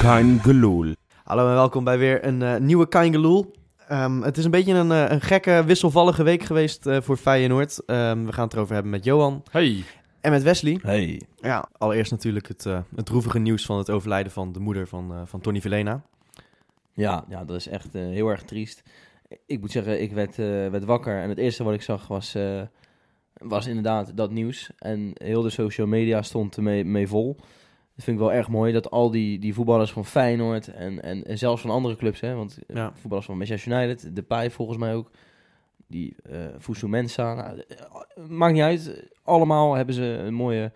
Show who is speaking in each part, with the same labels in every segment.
Speaker 1: Kein Geloel.
Speaker 2: Hallo en welkom bij weer een eh, nieuwe Kaingeloel. Ehm het is een beetje een, eh, een gekke, wisselvallige week geweest eh, voor Feyenoord. Ehm, we gaan het erover hebben met Johan
Speaker 3: Hey.
Speaker 2: en met Wesley.
Speaker 1: Hey.
Speaker 2: Ja, allereerst natuurlijk het, eh, het droevige nieuws van het overlijden van de moeder van, eh, van Tony Velena.
Speaker 4: Ja, ja, dat is echt eh, heel erg triest. Ik moet zeggen, ik werd, eh, werd wakker en het eerste wat ik zag was, eh, was inderdaad dat nieuws. En heel de social media stond ermee mee vol. Dat vind ik wel erg mooi, dat al die, die voetballers van Feyenoord en, en, en zelfs van andere clubs, hè, want eh,
Speaker 2: Ja.
Speaker 4: voetballers van Manchester United, Depay volgens mij ook, die eh Fusu Mensa, nou, eh, maakt niet uit. Allemaal hebben ze een mooie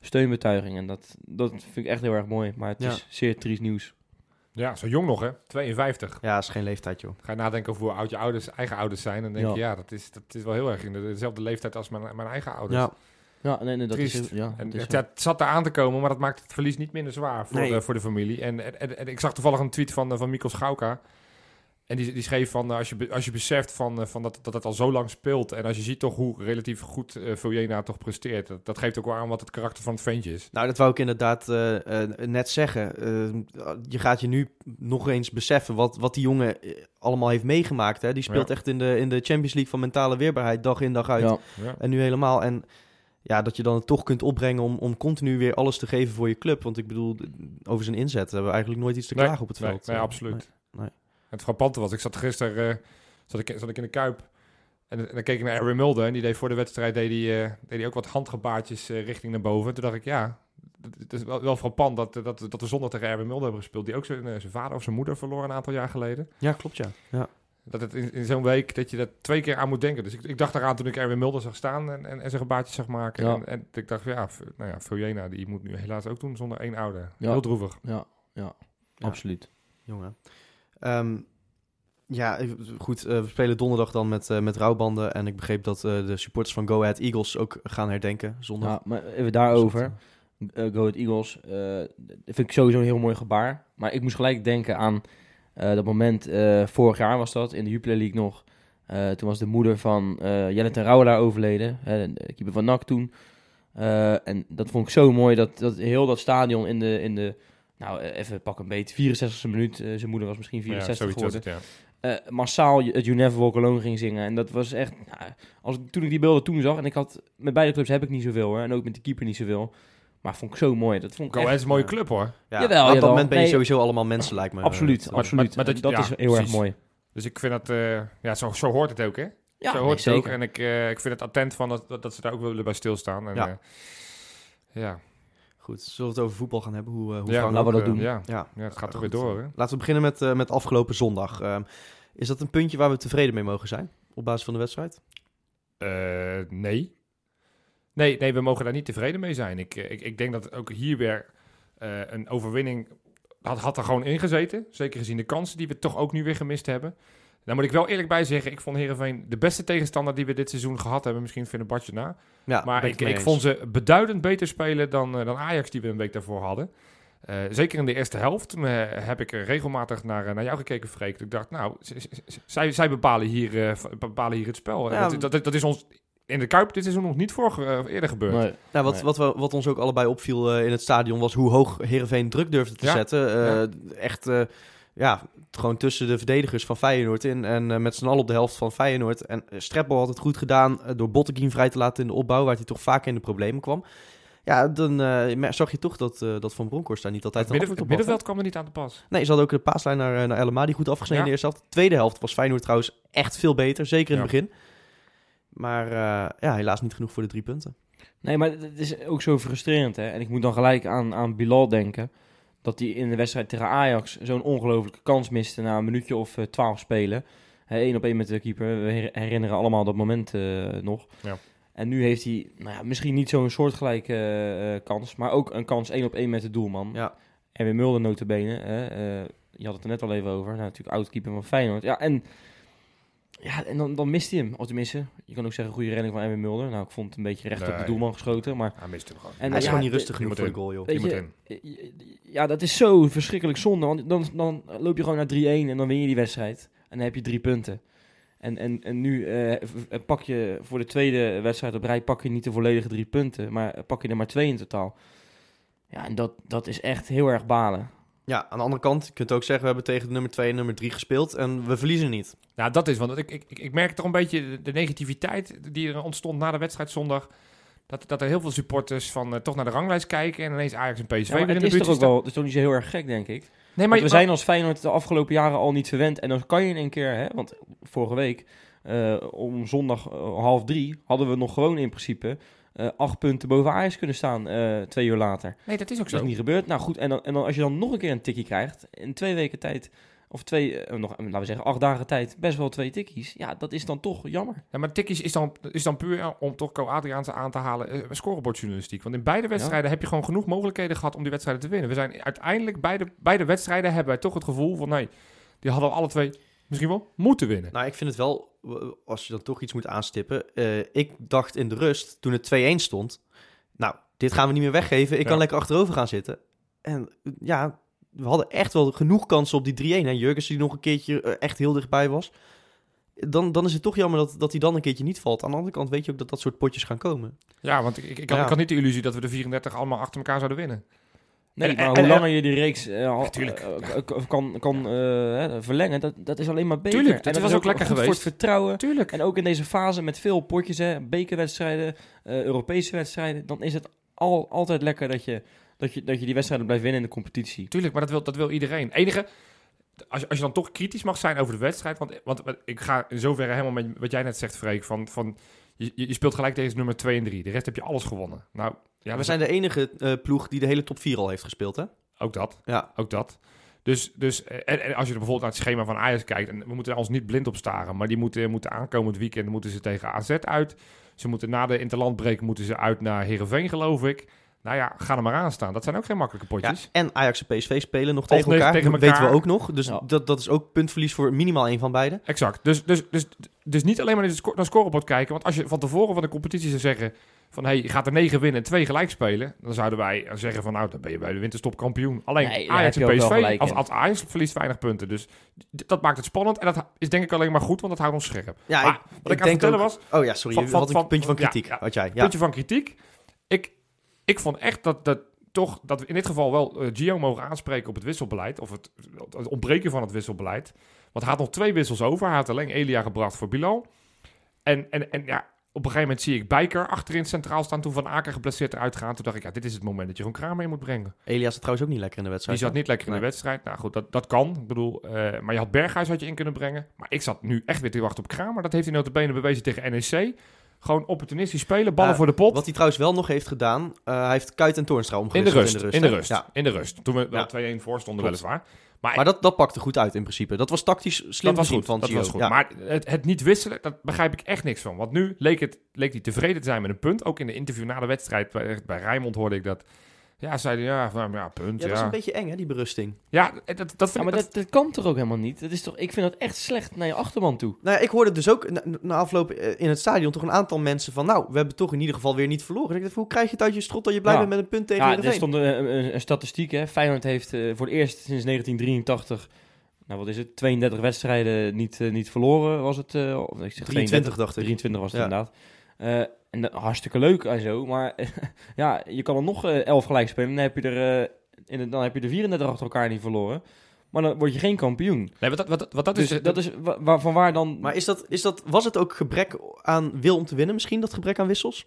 Speaker 4: steunbetuiging en dat, dat vind ik echt heel erg mooi. Maar het
Speaker 2: Ja.
Speaker 4: is zeer triest nieuws.
Speaker 3: Ja, zo jong nog hè, 52.
Speaker 2: Ja, is geen leeftijd joh.
Speaker 3: Ga je nadenken over hoe oud je ouders, eigen ouders zijn. En denk je,
Speaker 4: Ja.
Speaker 3: ja, dat is, dat is wel heel erg in de, dezelfde leeftijd als mijn, mijn eigen ouders.
Speaker 2: Ja,
Speaker 4: Ja, nee, nee, dat
Speaker 3: Triest.
Speaker 4: is... Ja,
Speaker 3: En
Speaker 4: dat
Speaker 3: het,
Speaker 4: is
Speaker 3: ja, het zat daar aan te komen, maar dat maakt het verlies niet minder zwaar voor,
Speaker 2: Nee.
Speaker 3: de, voor de familie. En, en, en- en ik zag toevallig een tweet van, eh, van Mikos Gauka. En die, die schreef van, eh, als je, be- als je beseft van, eh, van dat, dat het al zo lang speelt... en als je ziet toch hoe relatief goed eh Viljena toch presteert... Dat, dat geeft ook wel aan wat het karakter van het ventje is.
Speaker 2: nou dat wou ik inderdaad eh, eh, net zeggen. Eh, je gaat je nu nog eens beseffen wat, wat die jongen eh, allemaal heeft meegemaakt. Hè? Die speelt
Speaker 3: Ja.
Speaker 2: echt in de, in de Champions League van mentale weerbaarheid dag in dag uit.
Speaker 4: Ja,
Speaker 3: Ja.
Speaker 2: En nu helemaal. En ja, dat je dan het toch kunt opbrengen om, om continu weer alles te geven voor je club. Want ik bedoel, over zijn inzet hebben we eigenlijk nooit iets te
Speaker 3: Nee,
Speaker 2: klagen op het
Speaker 3: nee,
Speaker 2: veld.
Speaker 3: Nee,
Speaker 2: Eh,
Speaker 3: absoluut.
Speaker 2: nee.
Speaker 3: Het frappante was, ik zat gisteren eh, zat ik, zat ik in de Kuip en, en dan keek ik naar Aaron Mulder en die deed voor de wedstrijd deed die, eh, deed die ook wat handgebaartjes eh, richting naar boven. Toen dacht ik, ja, het- het is wel, wel frappant dat, eh, dat, dat we zondag tegen Aaron Mulder hebben gespeeld. Die ook zijn, eh, zijn vader of zijn moeder verloor een aantal jaar geleden.
Speaker 2: Ja, klopt ja. ja.
Speaker 3: Dat het in, in zo'n week, dat je dat twee keer aan moet denken. Dus ik, ik dacht eraan toen ik Erwin Mulder zag staan en, en, en zijn gebaartjes zag maken.
Speaker 4: Ja.
Speaker 3: En, en ik dacht, ja, v- nou ja, Viljena, die moet nu helaas ook doen zonder één ouder.
Speaker 4: Ja.
Speaker 3: Heel droevig.
Speaker 4: ja, ja,
Speaker 2: Ja.
Speaker 4: absoluut.
Speaker 2: Jongen. Ehm, ja, ik- goed. eh, we spelen donderdag dan met, eh, met rouwbanden. En ik begreep dat eh, de supporters van Go Ahead Eagles ook gaan herdenken. Zondag. Dus
Speaker 4: Ja, maar even daarover. Eh, Go Ahead Eagles. eh, dat vind ik sowieso een heel mooi gebaar. Maar ik moest gelijk denken aan eh, dat moment. eh, vorig jaar was dat, in de Jupiler League nog. Eh, toen was de moeder van eh Jelle ten Rouwelaar overleden. hè, de keeper van NAC toen. Eh, en dat vond ik zo mooi dat, dat heel dat stadion in de... In de nou, eh, even pak een beet. 64e minuut. eh, zijn moeder was misschien
Speaker 3: Ja,
Speaker 4: 64
Speaker 3: zoiets was
Speaker 4: geworden.
Speaker 3: het, ja.
Speaker 4: eh, massaal het You Never Walk Alone ging zingen. En dat was echt... Nou, als ik, toen ik die beelden toen zag... En ik had... Met beide clubs heb ik niet zoveel, hè. En ook met de keeper niet zoveel. Maar vond ik zo mooi. Dat vond ik
Speaker 3: Go
Speaker 4: echt...
Speaker 3: Ahead is een mooie club hoor.
Speaker 2: Ja,
Speaker 4: Jawel,
Speaker 2: op dat
Speaker 4: jawel.
Speaker 2: moment ben je
Speaker 4: Nee.
Speaker 2: sowieso allemaal mensen, lijkt me.
Speaker 4: Absoluut,
Speaker 2: Eh,
Speaker 3: maar-
Speaker 4: absoluut.
Speaker 3: maar dat je-
Speaker 4: dat
Speaker 3: ja,
Speaker 4: is heel
Speaker 3: precies.
Speaker 4: erg mooi.
Speaker 3: Dus ik vind dat, eh, ja, zo, zo hoort het ook, hè?
Speaker 4: Ja,
Speaker 3: zo
Speaker 4: nee,
Speaker 3: hoort het
Speaker 4: zeker.
Speaker 3: ook. En ik, eh, ik vind het attent van dat, dat, dat ze daar ook willen bij stilstaan. En,
Speaker 2: Ja.
Speaker 3: ja. ja.
Speaker 2: Goed, zullen we het over voetbal gaan hebben? Hoe, eh, hoe
Speaker 3: Ja,
Speaker 2: Frank
Speaker 4: laten we
Speaker 3: ook,
Speaker 4: dat
Speaker 3: eh,
Speaker 4: doen.
Speaker 3: Ja,
Speaker 2: Ja.
Speaker 3: ja het gaat toch
Speaker 2: Goed.
Speaker 3: weer door, hè?
Speaker 2: Laten we beginnen met, eh, met afgelopen zondag. Ehm, is dat een puntje waar we tevreden mee mogen zijn? Op basis van de wedstrijd?
Speaker 3: Eh, nee. nee. Nee, we mogen daar niet tevreden mee zijn. Ik, eh, ik, ik denk dat ook hier weer eh, een overwinning had, had er gewoon ingezeten. Zeker gezien de kansen die we toch ook nu weer gemist hebben. Daar moet ik wel eerlijk bij zeggen, ik vond Heerenveen de beste tegenstander die we dit seizoen gehad hebben. Misschien Fenerbahce na.
Speaker 2: Ja,
Speaker 3: maar
Speaker 2: Ah, ben
Speaker 3: ik,
Speaker 2: het mee
Speaker 3: ik
Speaker 2: eens.
Speaker 3: vond ze beduidend beter spelen dan, eh, dan Ajax die we een week daarvoor hadden. Eh, zeker in de eerste helft Toen, eh, heb ik eh, regelmatig naar, eh, naar jou gekeken, Freek. Ik dacht, nou, z- z- z- zij, zij bepalen, hier, eh, v- bepalen hier het spel. Eh,
Speaker 2: Ja,
Speaker 3: dat, dat, dat is ons in de Kuip dit seizoen nog niet voor, eh, eerder gebeurd.
Speaker 4: Nee.
Speaker 2: Nou, wat,
Speaker 4: Nee.
Speaker 2: wat, we, wat ons ook allebei opviel eh, in het stadion was hoe hoog Herenveen druk durfde te
Speaker 3: Ja,
Speaker 2: zetten. Eh, Echt, eh, ja, t- gewoon tussen de verdedigers van Feyenoord in en eh, met z'n allen op de helft van Feyenoord. En eh, Streppel had het goed gedaan eh, door Botteguin vrij te laten in de opbouw, waar hij toch vaak in de problemen kwam. Ja, dan eh, mer- zag je toch dat, eh, dat Van Bronckhorst daar niet altijd
Speaker 3: Het,
Speaker 2: een
Speaker 3: midden-
Speaker 2: antwoord
Speaker 3: het
Speaker 2: op had, hè?
Speaker 3: middenveld kwam er niet aan de pas.
Speaker 2: Nee, ze hadden ook de paaslijn naar, eh, naar Elma, die goed afgesneden
Speaker 3: Ja.
Speaker 2: in de eerste helft. De tweede helft was Feyenoord trouwens echt veel beter, zeker in het begin. Maar eh, ja, helaas niet genoeg voor de drie punten.
Speaker 4: Nou Nee, maar het is ook zo frustrerend. Hè? En ik moet dan gelijk aan, aan Bilal denken. Dat hij in de wedstrijd tegen Ajax zo'n ongelofelijke kans miste na een minuutje of eh, twaalf spelen. Eén op één met de keeper. We her- herinneren allemaal dat moment eh, nog.
Speaker 3: Ja.
Speaker 4: En nu heeft hij nou ja, misschien niet zo'n soortgelijke eh, eh, kans. Maar ook een kans één op één met de doelman.
Speaker 2: Ja.
Speaker 4: En weer Mulder notabene. Hè? eh, je had het er net al even over. Nou, natuurlijk oud-keeper van Feyenoord. Ja, en ja, en dan, dan mist hij hem. Of tenminste, je kan ook zeggen goede redding van Erwin Mulder. Nou, ik vond het een beetje recht op de
Speaker 3: Nee.
Speaker 4: doelman geschoten. Maar
Speaker 3: Hij miste hem gewoon.
Speaker 4: En
Speaker 2: Hij is
Speaker 4: ja,
Speaker 2: gewoon niet
Speaker 4: de-
Speaker 2: rustig genoeg
Speaker 3: moet
Speaker 2: voor de
Speaker 3: in.
Speaker 2: goal, joh.
Speaker 4: Weet
Speaker 3: Je moet
Speaker 4: je,
Speaker 3: in.
Speaker 4: ja, dat is zo verschrikkelijk zonde. Want dan, dan loop je gewoon naar 3-1 en dan win je die wedstrijd. En dan heb je drie punten. En, en, en nu eh, v- eh, pak je voor de tweede wedstrijd op rij pak je niet de volledige drie eh, punten. Maar pak je er maar twee in totaal. Ja, en dat, dat is echt heel erg balen.
Speaker 2: Ja, aan de andere kant, je kunt ook zeggen, we hebben tegen de nummer 2 en nummer 3 gespeeld en we verliezen niet.
Speaker 3: Nou, dat is, want ik, ik, ik ik merk toch een beetje de- de negativiteit die er ontstond na de wedstrijd zondag. Dat, dat er heel veel supporters van eh, toch naar de ranglijst kijken en ineens Ajax en PSV
Speaker 4: Ja, maar
Speaker 3: weer
Speaker 4: het
Speaker 3: in de
Speaker 4: is
Speaker 3: buurt
Speaker 4: toch ook
Speaker 3: staan.
Speaker 4: wel, het is toch niet zo heel erg gek, denk ik.
Speaker 3: Nee,
Speaker 4: Maar
Speaker 3: maar
Speaker 4: we zijn als Feyenoord de afgelopen jaren al niet verwend. En dan kan je in één keer, hè, want vorige week eh, om zondag eh, half drie hadden we nog gewoon in principe eh, acht punten boven Ajax kunnen staan eh, twee uur later.
Speaker 3: Nee, dat is ook
Speaker 4: Dat is
Speaker 3: zo.
Speaker 4: niet gebeurd. Nou goed, en dan, en dan als je dan nog een keer een tikkie krijgt in twee weken tijd, of twee, eh, nog, eh, laten we zeggen acht dagen tijd, best wel twee tikkies. Ja, dat is dan toch jammer.
Speaker 3: Ja, maar tikkies is dan, is dan puur om toch Co Adriaanse aan te halen eh, scorebordjournalistiek. Want in beide wedstrijden heb je gewoon genoeg mogelijkheden gehad om die wedstrijden te winnen. We zijn uiteindelijk, beide, beide wedstrijden hebben wij toch het gevoel van... Nee, die hadden we alle twee misschien wel moeten winnen.
Speaker 2: Nou, ik vind het wel, w- als je dan toch iets moet aanstippen. eh, ik dacht in de rust, toen het 2-1 stond, nou, dit gaan we niet meer weggeven. Ik
Speaker 3: Ja.
Speaker 2: kan lekker achterover gaan zitten. En eh, ja, we hadden echt wel genoeg kansen op die 3-1. En Jurgens die nog een keertje eh, echt heel dichtbij was. Dan, dan is het toch jammer dat, dat hij dan een keertje niet valt. Aan de andere kant weet je ook dat dat soort potjes gaan komen.
Speaker 3: Ja, want ik, ik, ik, had,
Speaker 2: Ja.
Speaker 3: ik had niet de illusie dat we de 34 allemaal achter elkaar zouden winnen.
Speaker 4: Nee,
Speaker 3: En-
Speaker 4: maar
Speaker 3: en-
Speaker 4: hoe
Speaker 3: en-
Speaker 4: langer je die reeks eh, al-
Speaker 3: Ja, tuurlijk.
Speaker 4: eh, eh, k- kan, kan eh, hè, verlengen, dat, dat is alleen maar beter.
Speaker 3: Tuurlijk,
Speaker 4: En
Speaker 3: dat
Speaker 4: is
Speaker 3: was ook lekker
Speaker 4: goed
Speaker 3: geweest.
Speaker 4: voor het vertrouwen.
Speaker 3: Tuurlijk.
Speaker 4: En ook in deze fase met veel potjes, hè, bekerwedstrijden, eh, Europese wedstrijden, dan is het al, altijd lekker dat je, dat, je, dat je die wedstrijden blijft winnen in de competitie.
Speaker 3: Tuurlijk, maar dat wil, dat wil iedereen. Enige, als, je- als je dan toch kritisch mag zijn over de wedstrijd. Want, want ik ga in zoverre helemaal met wat jij net zegt, Freek. Van, van, je, je je speelt gelijk tegen nummer 2 en 3. De rest heb je alles gewonnen. Nou, ja,
Speaker 2: we
Speaker 3: dat-
Speaker 2: zijn de enige eh, ploeg die de hele top 4 al heeft gespeeld, hè?
Speaker 3: ook dat.
Speaker 2: Ja.
Speaker 3: Ook dat. Dus, dus eh, en, en als je er bijvoorbeeld naar het schema van Ajax kijkt. En we moeten daar ons niet blind op staren. Maar die moeten, moeten aankomend weekend moeten ze tegen AZ uit. Ze moeten na de interlandbreek moeten ze uit naar Heerenveen, geloof ik. Nou ja, ga er maar aan staan. Dat zijn ook geen makkelijke
Speaker 2: Ja,
Speaker 3: potjes.
Speaker 2: en Ajax en PSV spelen nog
Speaker 3: Of
Speaker 2: tegen
Speaker 3: nee,
Speaker 2: elkaar,
Speaker 3: tegen
Speaker 2: Dat
Speaker 3: elkaar.
Speaker 2: weten we ook nog. Dus
Speaker 4: Ja.
Speaker 2: dat, dat is ook puntverlies voor minimaal één van beiden.
Speaker 3: Exact. Dus, dus, dus, dus niet alleen maar naar het sco- naar het scorebord kijken. Want als je van tevoren van de competitie zou zeggen... van hé, hey, je gaat er negen winnen en twee gelijk spelen... dan zouden wij zeggen van nou, dan ben je bij de winterstop kampioen. Alleen
Speaker 4: Nee, daar
Speaker 3: Ajax
Speaker 4: heb
Speaker 3: en
Speaker 4: je ook wel
Speaker 3: PSV,
Speaker 4: gelijk
Speaker 3: als,
Speaker 4: in.
Speaker 3: als Ajax verliest weinig punten. Dus d- dat maakt het spannend. En dat ha- is denk ik alleen maar goed, want dat houdt ons scherp.
Speaker 2: Ja,
Speaker 3: Maar
Speaker 2: ik- ik
Speaker 3: wat ik, aan het
Speaker 2: denk
Speaker 3: vertellen
Speaker 2: ook-
Speaker 3: was...
Speaker 2: Oh ja, sorry.
Speaker 3: Van-
Speaker 2: je
Speaker 3: van-
Speaker 2: had een
Speaker 3: van-
Speaker 2: puntje van
Speaker 3: ja,
Speaker 2: kritiek.
Speaker 3: ja.
Speaker 2: Had jij. Ja.
Speaker 3: puntje van kritiek. Ik, ik vond echt dat, dat, toch, dat we in dit geval wel eh, Gio mogen aanspreken op het wisselbeleid. Of het, het ontbreken van het wisselbeleid. Want hij had nog twee wissels over. Hij had alleen Elia gebracht voor Bilal. En, en, en ja, op een gegeven moment zie ik Bijker achterin centraal staan. Toen Van Aker geblesseerd eruit gaan. Toen dacht ik, ja, dit is het moment dat je gewoon Kramer in moet brengen.
Speaker 2: Elias zat trouwens ook niet lekker in de
Speaker 3: Die
Speaker 2: wedstrijd.
Speaker 3: zat niet lekker in de
Speaker 2: Nee.
Speaker 3: wedstrijd. Nou goed, dat, dat kan. Ik bedoel, eh, maar je had Berghuis had je in kunnen brengen. Maar ik zat nu echt weer te wachten op Kramer. Dat heeft hij notabene bewezen tegen NEC. Gewoon opportunistisch spelen, ballen
Speaker 2: Eh,
Speaker 3: voor de pot.
Speaker 2: Wat hij trouwens wel nog heeft gedaan, eh, hij heeft Kuit en Toornstra
Speaker 3: In de
Speaker 2: omgewisseld
Speaker 3: rust, in de
Speaker 2: hè?
Speaker 3: rust,
Speaker 2: Ja.
Speaker 3: in de rust. Toen we wel
Speaker 2: Ja.
Speaker 3: 2-1 voor stonden
Speaker 2: Klopt.
Speaker 3: weliswaar.
Speaker 2: Maar dat, dat pakte goed uit in principe. Dat was tactisch slim
Speaker 3: dat was
Speaker 2: gezien
Speaker 3: goed,
Speaker 2: van
Speaker 3: dat
Speaker 2: Gio.
Speaker 3: was goed.
Speaker 2: Ja.
Speaker 3: Maar het, het niet wisselen, dat begrijp ik echt niks van. Want nu leek, het, leek hij tevreden te zijn met een punt. Ook in de interview na de wedstrijd bij, bij Rijmond hoorde ik dat. Ja, zei hij, ja, van, ja punt,
Speaker 2: ja, dat
Speaker 3: ja. Ja,
Speaker 2: is een beetje eng, hè, die berusting.
Speaker 3: dat, dat, vind
Speaker 4: Ja,
Speaker 3: ik-
Speaker 4: maar
Speaker 3: dat-
Speaker 4: dat, dat kan toch ook helemaal niet? Dat is toch, ik vind dat echt slecht naar je achterman toe.
Speaker 2: Nou ja, ik hoorde dus ook na, na afloop eh, in het stadion toch een aantal mensen van... nou, we hebben toch in ieder geval weer niet verloren. En ik dacht, hoe krijg je het uit je strot dat je blij
Speaker 4: Ja.
Speaker 2: bent met een punt tegen
Speaker 4: Ja, er
Speaker 2: Heerenveen?
Speaker 4: stond een, een- een statistiek. Hè. Feyenoord heeft eh, voor het eerst sinds 1983, nou wat is het, 32 wedstrijden niet, eh, niet verloren was het. eh, of, ik zeg
Speaker 2: 23, dacht ik.
Speaker 4: 23 was het
Speaker 2: Ja.
Speaker 4: inderdaad. Eh, en dat- hartstikke leuk en zo. Maar ja, je kan er nog eh, 11 gelijk spelen. Dan heb, je er, eh, in het- dan heb je er 34 achter elkaar niet verloren. Maar dan word je geen kampioen.
Speaker 3: nee, wat, wat, wat, wat dat
Speaker 4: dus
Speaker 3: is... eh,
Speaker 4: dat is wa- waar, van waar dan...
Speaker 2: Maar is dat, is dat, was het ook gebrek aan wil om te winnen misschien, dat gebrek aan wissels?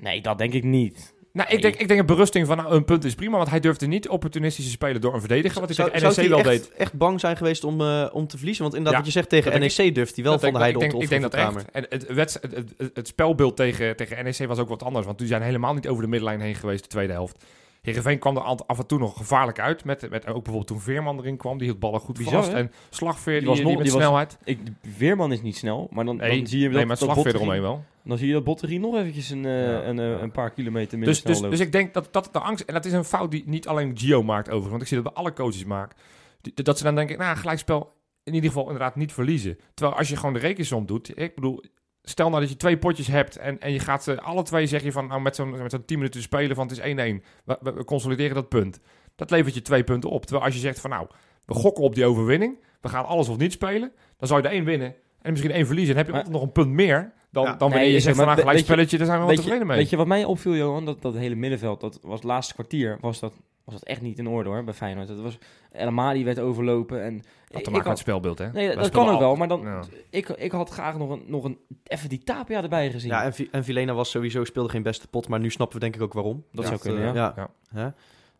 Speaker 4: Nee, dat denk ik niet.
Speaker 3: nou, ik denk, ik denk een berusting van nou, een punt is prima. Want hij durfde niet opportunistisch te spelen door een verdediger. Wat hij
Speaker 2: Zou,
Speaker 3: tegen
Speaker 2: zou
Speaker 3: NEC
Speaker 2: hij
Speaker 3: E wel deed.
Speaker 2: echt, echt bang zijn geweest om, eh, om te verliezen? Want inderdaad, wat
Speaker 3: Ja,
Speaker 2: je zegt, tegen
Speaker 3: dat denk
Speaker 2: NEC durft hij wel
Speaker 3: Dat
Speaker 2: van de
Speaker 3: denk-
Speaker 2: Heide op
Speaker 3: ik
Speaker 2: te
Speaker 3: denk, ik
Speaker 2: offeren
Speaker 3: denk
Speaker 2: voor
Speaker 3: dat
Speaker 2: Kramer.
Speaker 3: echt. En het, wedst- het, het- het- het spelbeeld tegen, tegen NEC was ook wat anders. Want die zijn helemaal niet over de middenlijn heen geweest de tweede helft. Heerenveen kwam er aan- af en toe nog gevaarlijk uit. Met, met ook bijvoorbeeld toen Veerman erin kwam. Die hield ballen goed
Speaker 4: Bizar,
Speaker 3: vast.
Speaker 4: hè?
Speaker 3: En Slagveer die,
Speaker 4: Die was
Speaker 3: die
Speaker 4: nog-
Speaker 3: met
Speaker 4: die was-
Speaker 3: snelheid.
Speaker 4: Ik, Weerman is niet snel, maar dan,
Speaker 3: Nee,
Speaker 4: dan zie je dat,
Speaker 3: nee, maar
Speaker 4: dat
Speaker 3: Slagveer
Speaker 4: Botteguin-
Speaker 3: eromheen wel.
Speaker 4: Dan zie je dat Botterie nog eventjes een, eh,
Speaker 3: Ja,
Speaker 4: een, eh,
Speaker 3: ja.
Speaker 4: een paar kilometer minder
Speaker 3: Dus,
Speaker 4: snel
Speaker 3: dus,
Speaker 4: loopt.
Speaker 3: dus ik denk dat dat de angst... En dat is een fout die niet alleen Gio maakt overigens. Want ik zie dat bij alle coaches maken. Die- Dat ze dan denken, nou gelijkspel in ieder geval inderdaad niet verliezen. Terwijl als je gewoon de rekensom doet... Ik bedoel, stel nou dat je twee potjes hebt... En, en je gaat ze alle twee zeg je van... Nou, met zo'n met zo'n 10 minuten spelen van het is 1-1. We, we- we consolideren dat punt. Dat levert je twee punten op. Terwijl als je zegt van nou, we gokken op die overwinning. We gaan alles of niet spelen. Dan zou je er één winnen en misschien één verliezen. Dan heb je
Speaker 4: Maar-
Speaker 3: altijd nog een punt meer... Dan,
Speaker 2: Ja.
Speaker 3: dan wanneer
Speaker 4: Nee,
Speaker 3: je
Speaker 4: zeg
Speaker 3: zegt
Speaker 4: maar,
Speaker 3: van nou,
Speaker 4: weet-
Speaker 3: gelijk spelletje, daar zijn we wel
Speaker 4: Weet je,
Speaker 3: tevreden mee.
Speaker 4: weet je wat mij opviel, Johan? Dat, dat hele middenveld, dat was het laatste kwartier, was dat was dat echt niet in orde hoor, bij Feyenoord. Dat was, El Amadi werd overlopen en...
Speaker 3: Had
Speaker 4: ik-
Speaker 3: te
Speaker 4: ik
Speaker 3: maken met
Speaker 4: had-
Speaker 3: het spelbeeld, hè?
Speaker 4: Nee,
Speaker 3: Wij
Speaker 4: dat
Speaker 3: speelden
Speaker 4: kan ook
Speaker 3: al-
Speaker 4: wel, maar dan...
Speaker 3: Ja.
Speaker 4: Ik, ik had graag nog, een, nog een, even die Tapia erbij gezien.
Speaker 2: Ja, en, Vi- en Vilena was sowieso, speelde geen beste pot, maar nu snappen we denk ik ook waarom.
Speaker 4: Dat
Speaker 2: Ja,
Speaker 4: zou kunnen,
Speaker 2: eh,
Speaker 4: ja.
Speaker 2: ja.
Speaker 3: Ja.
Speaker 2: Hè?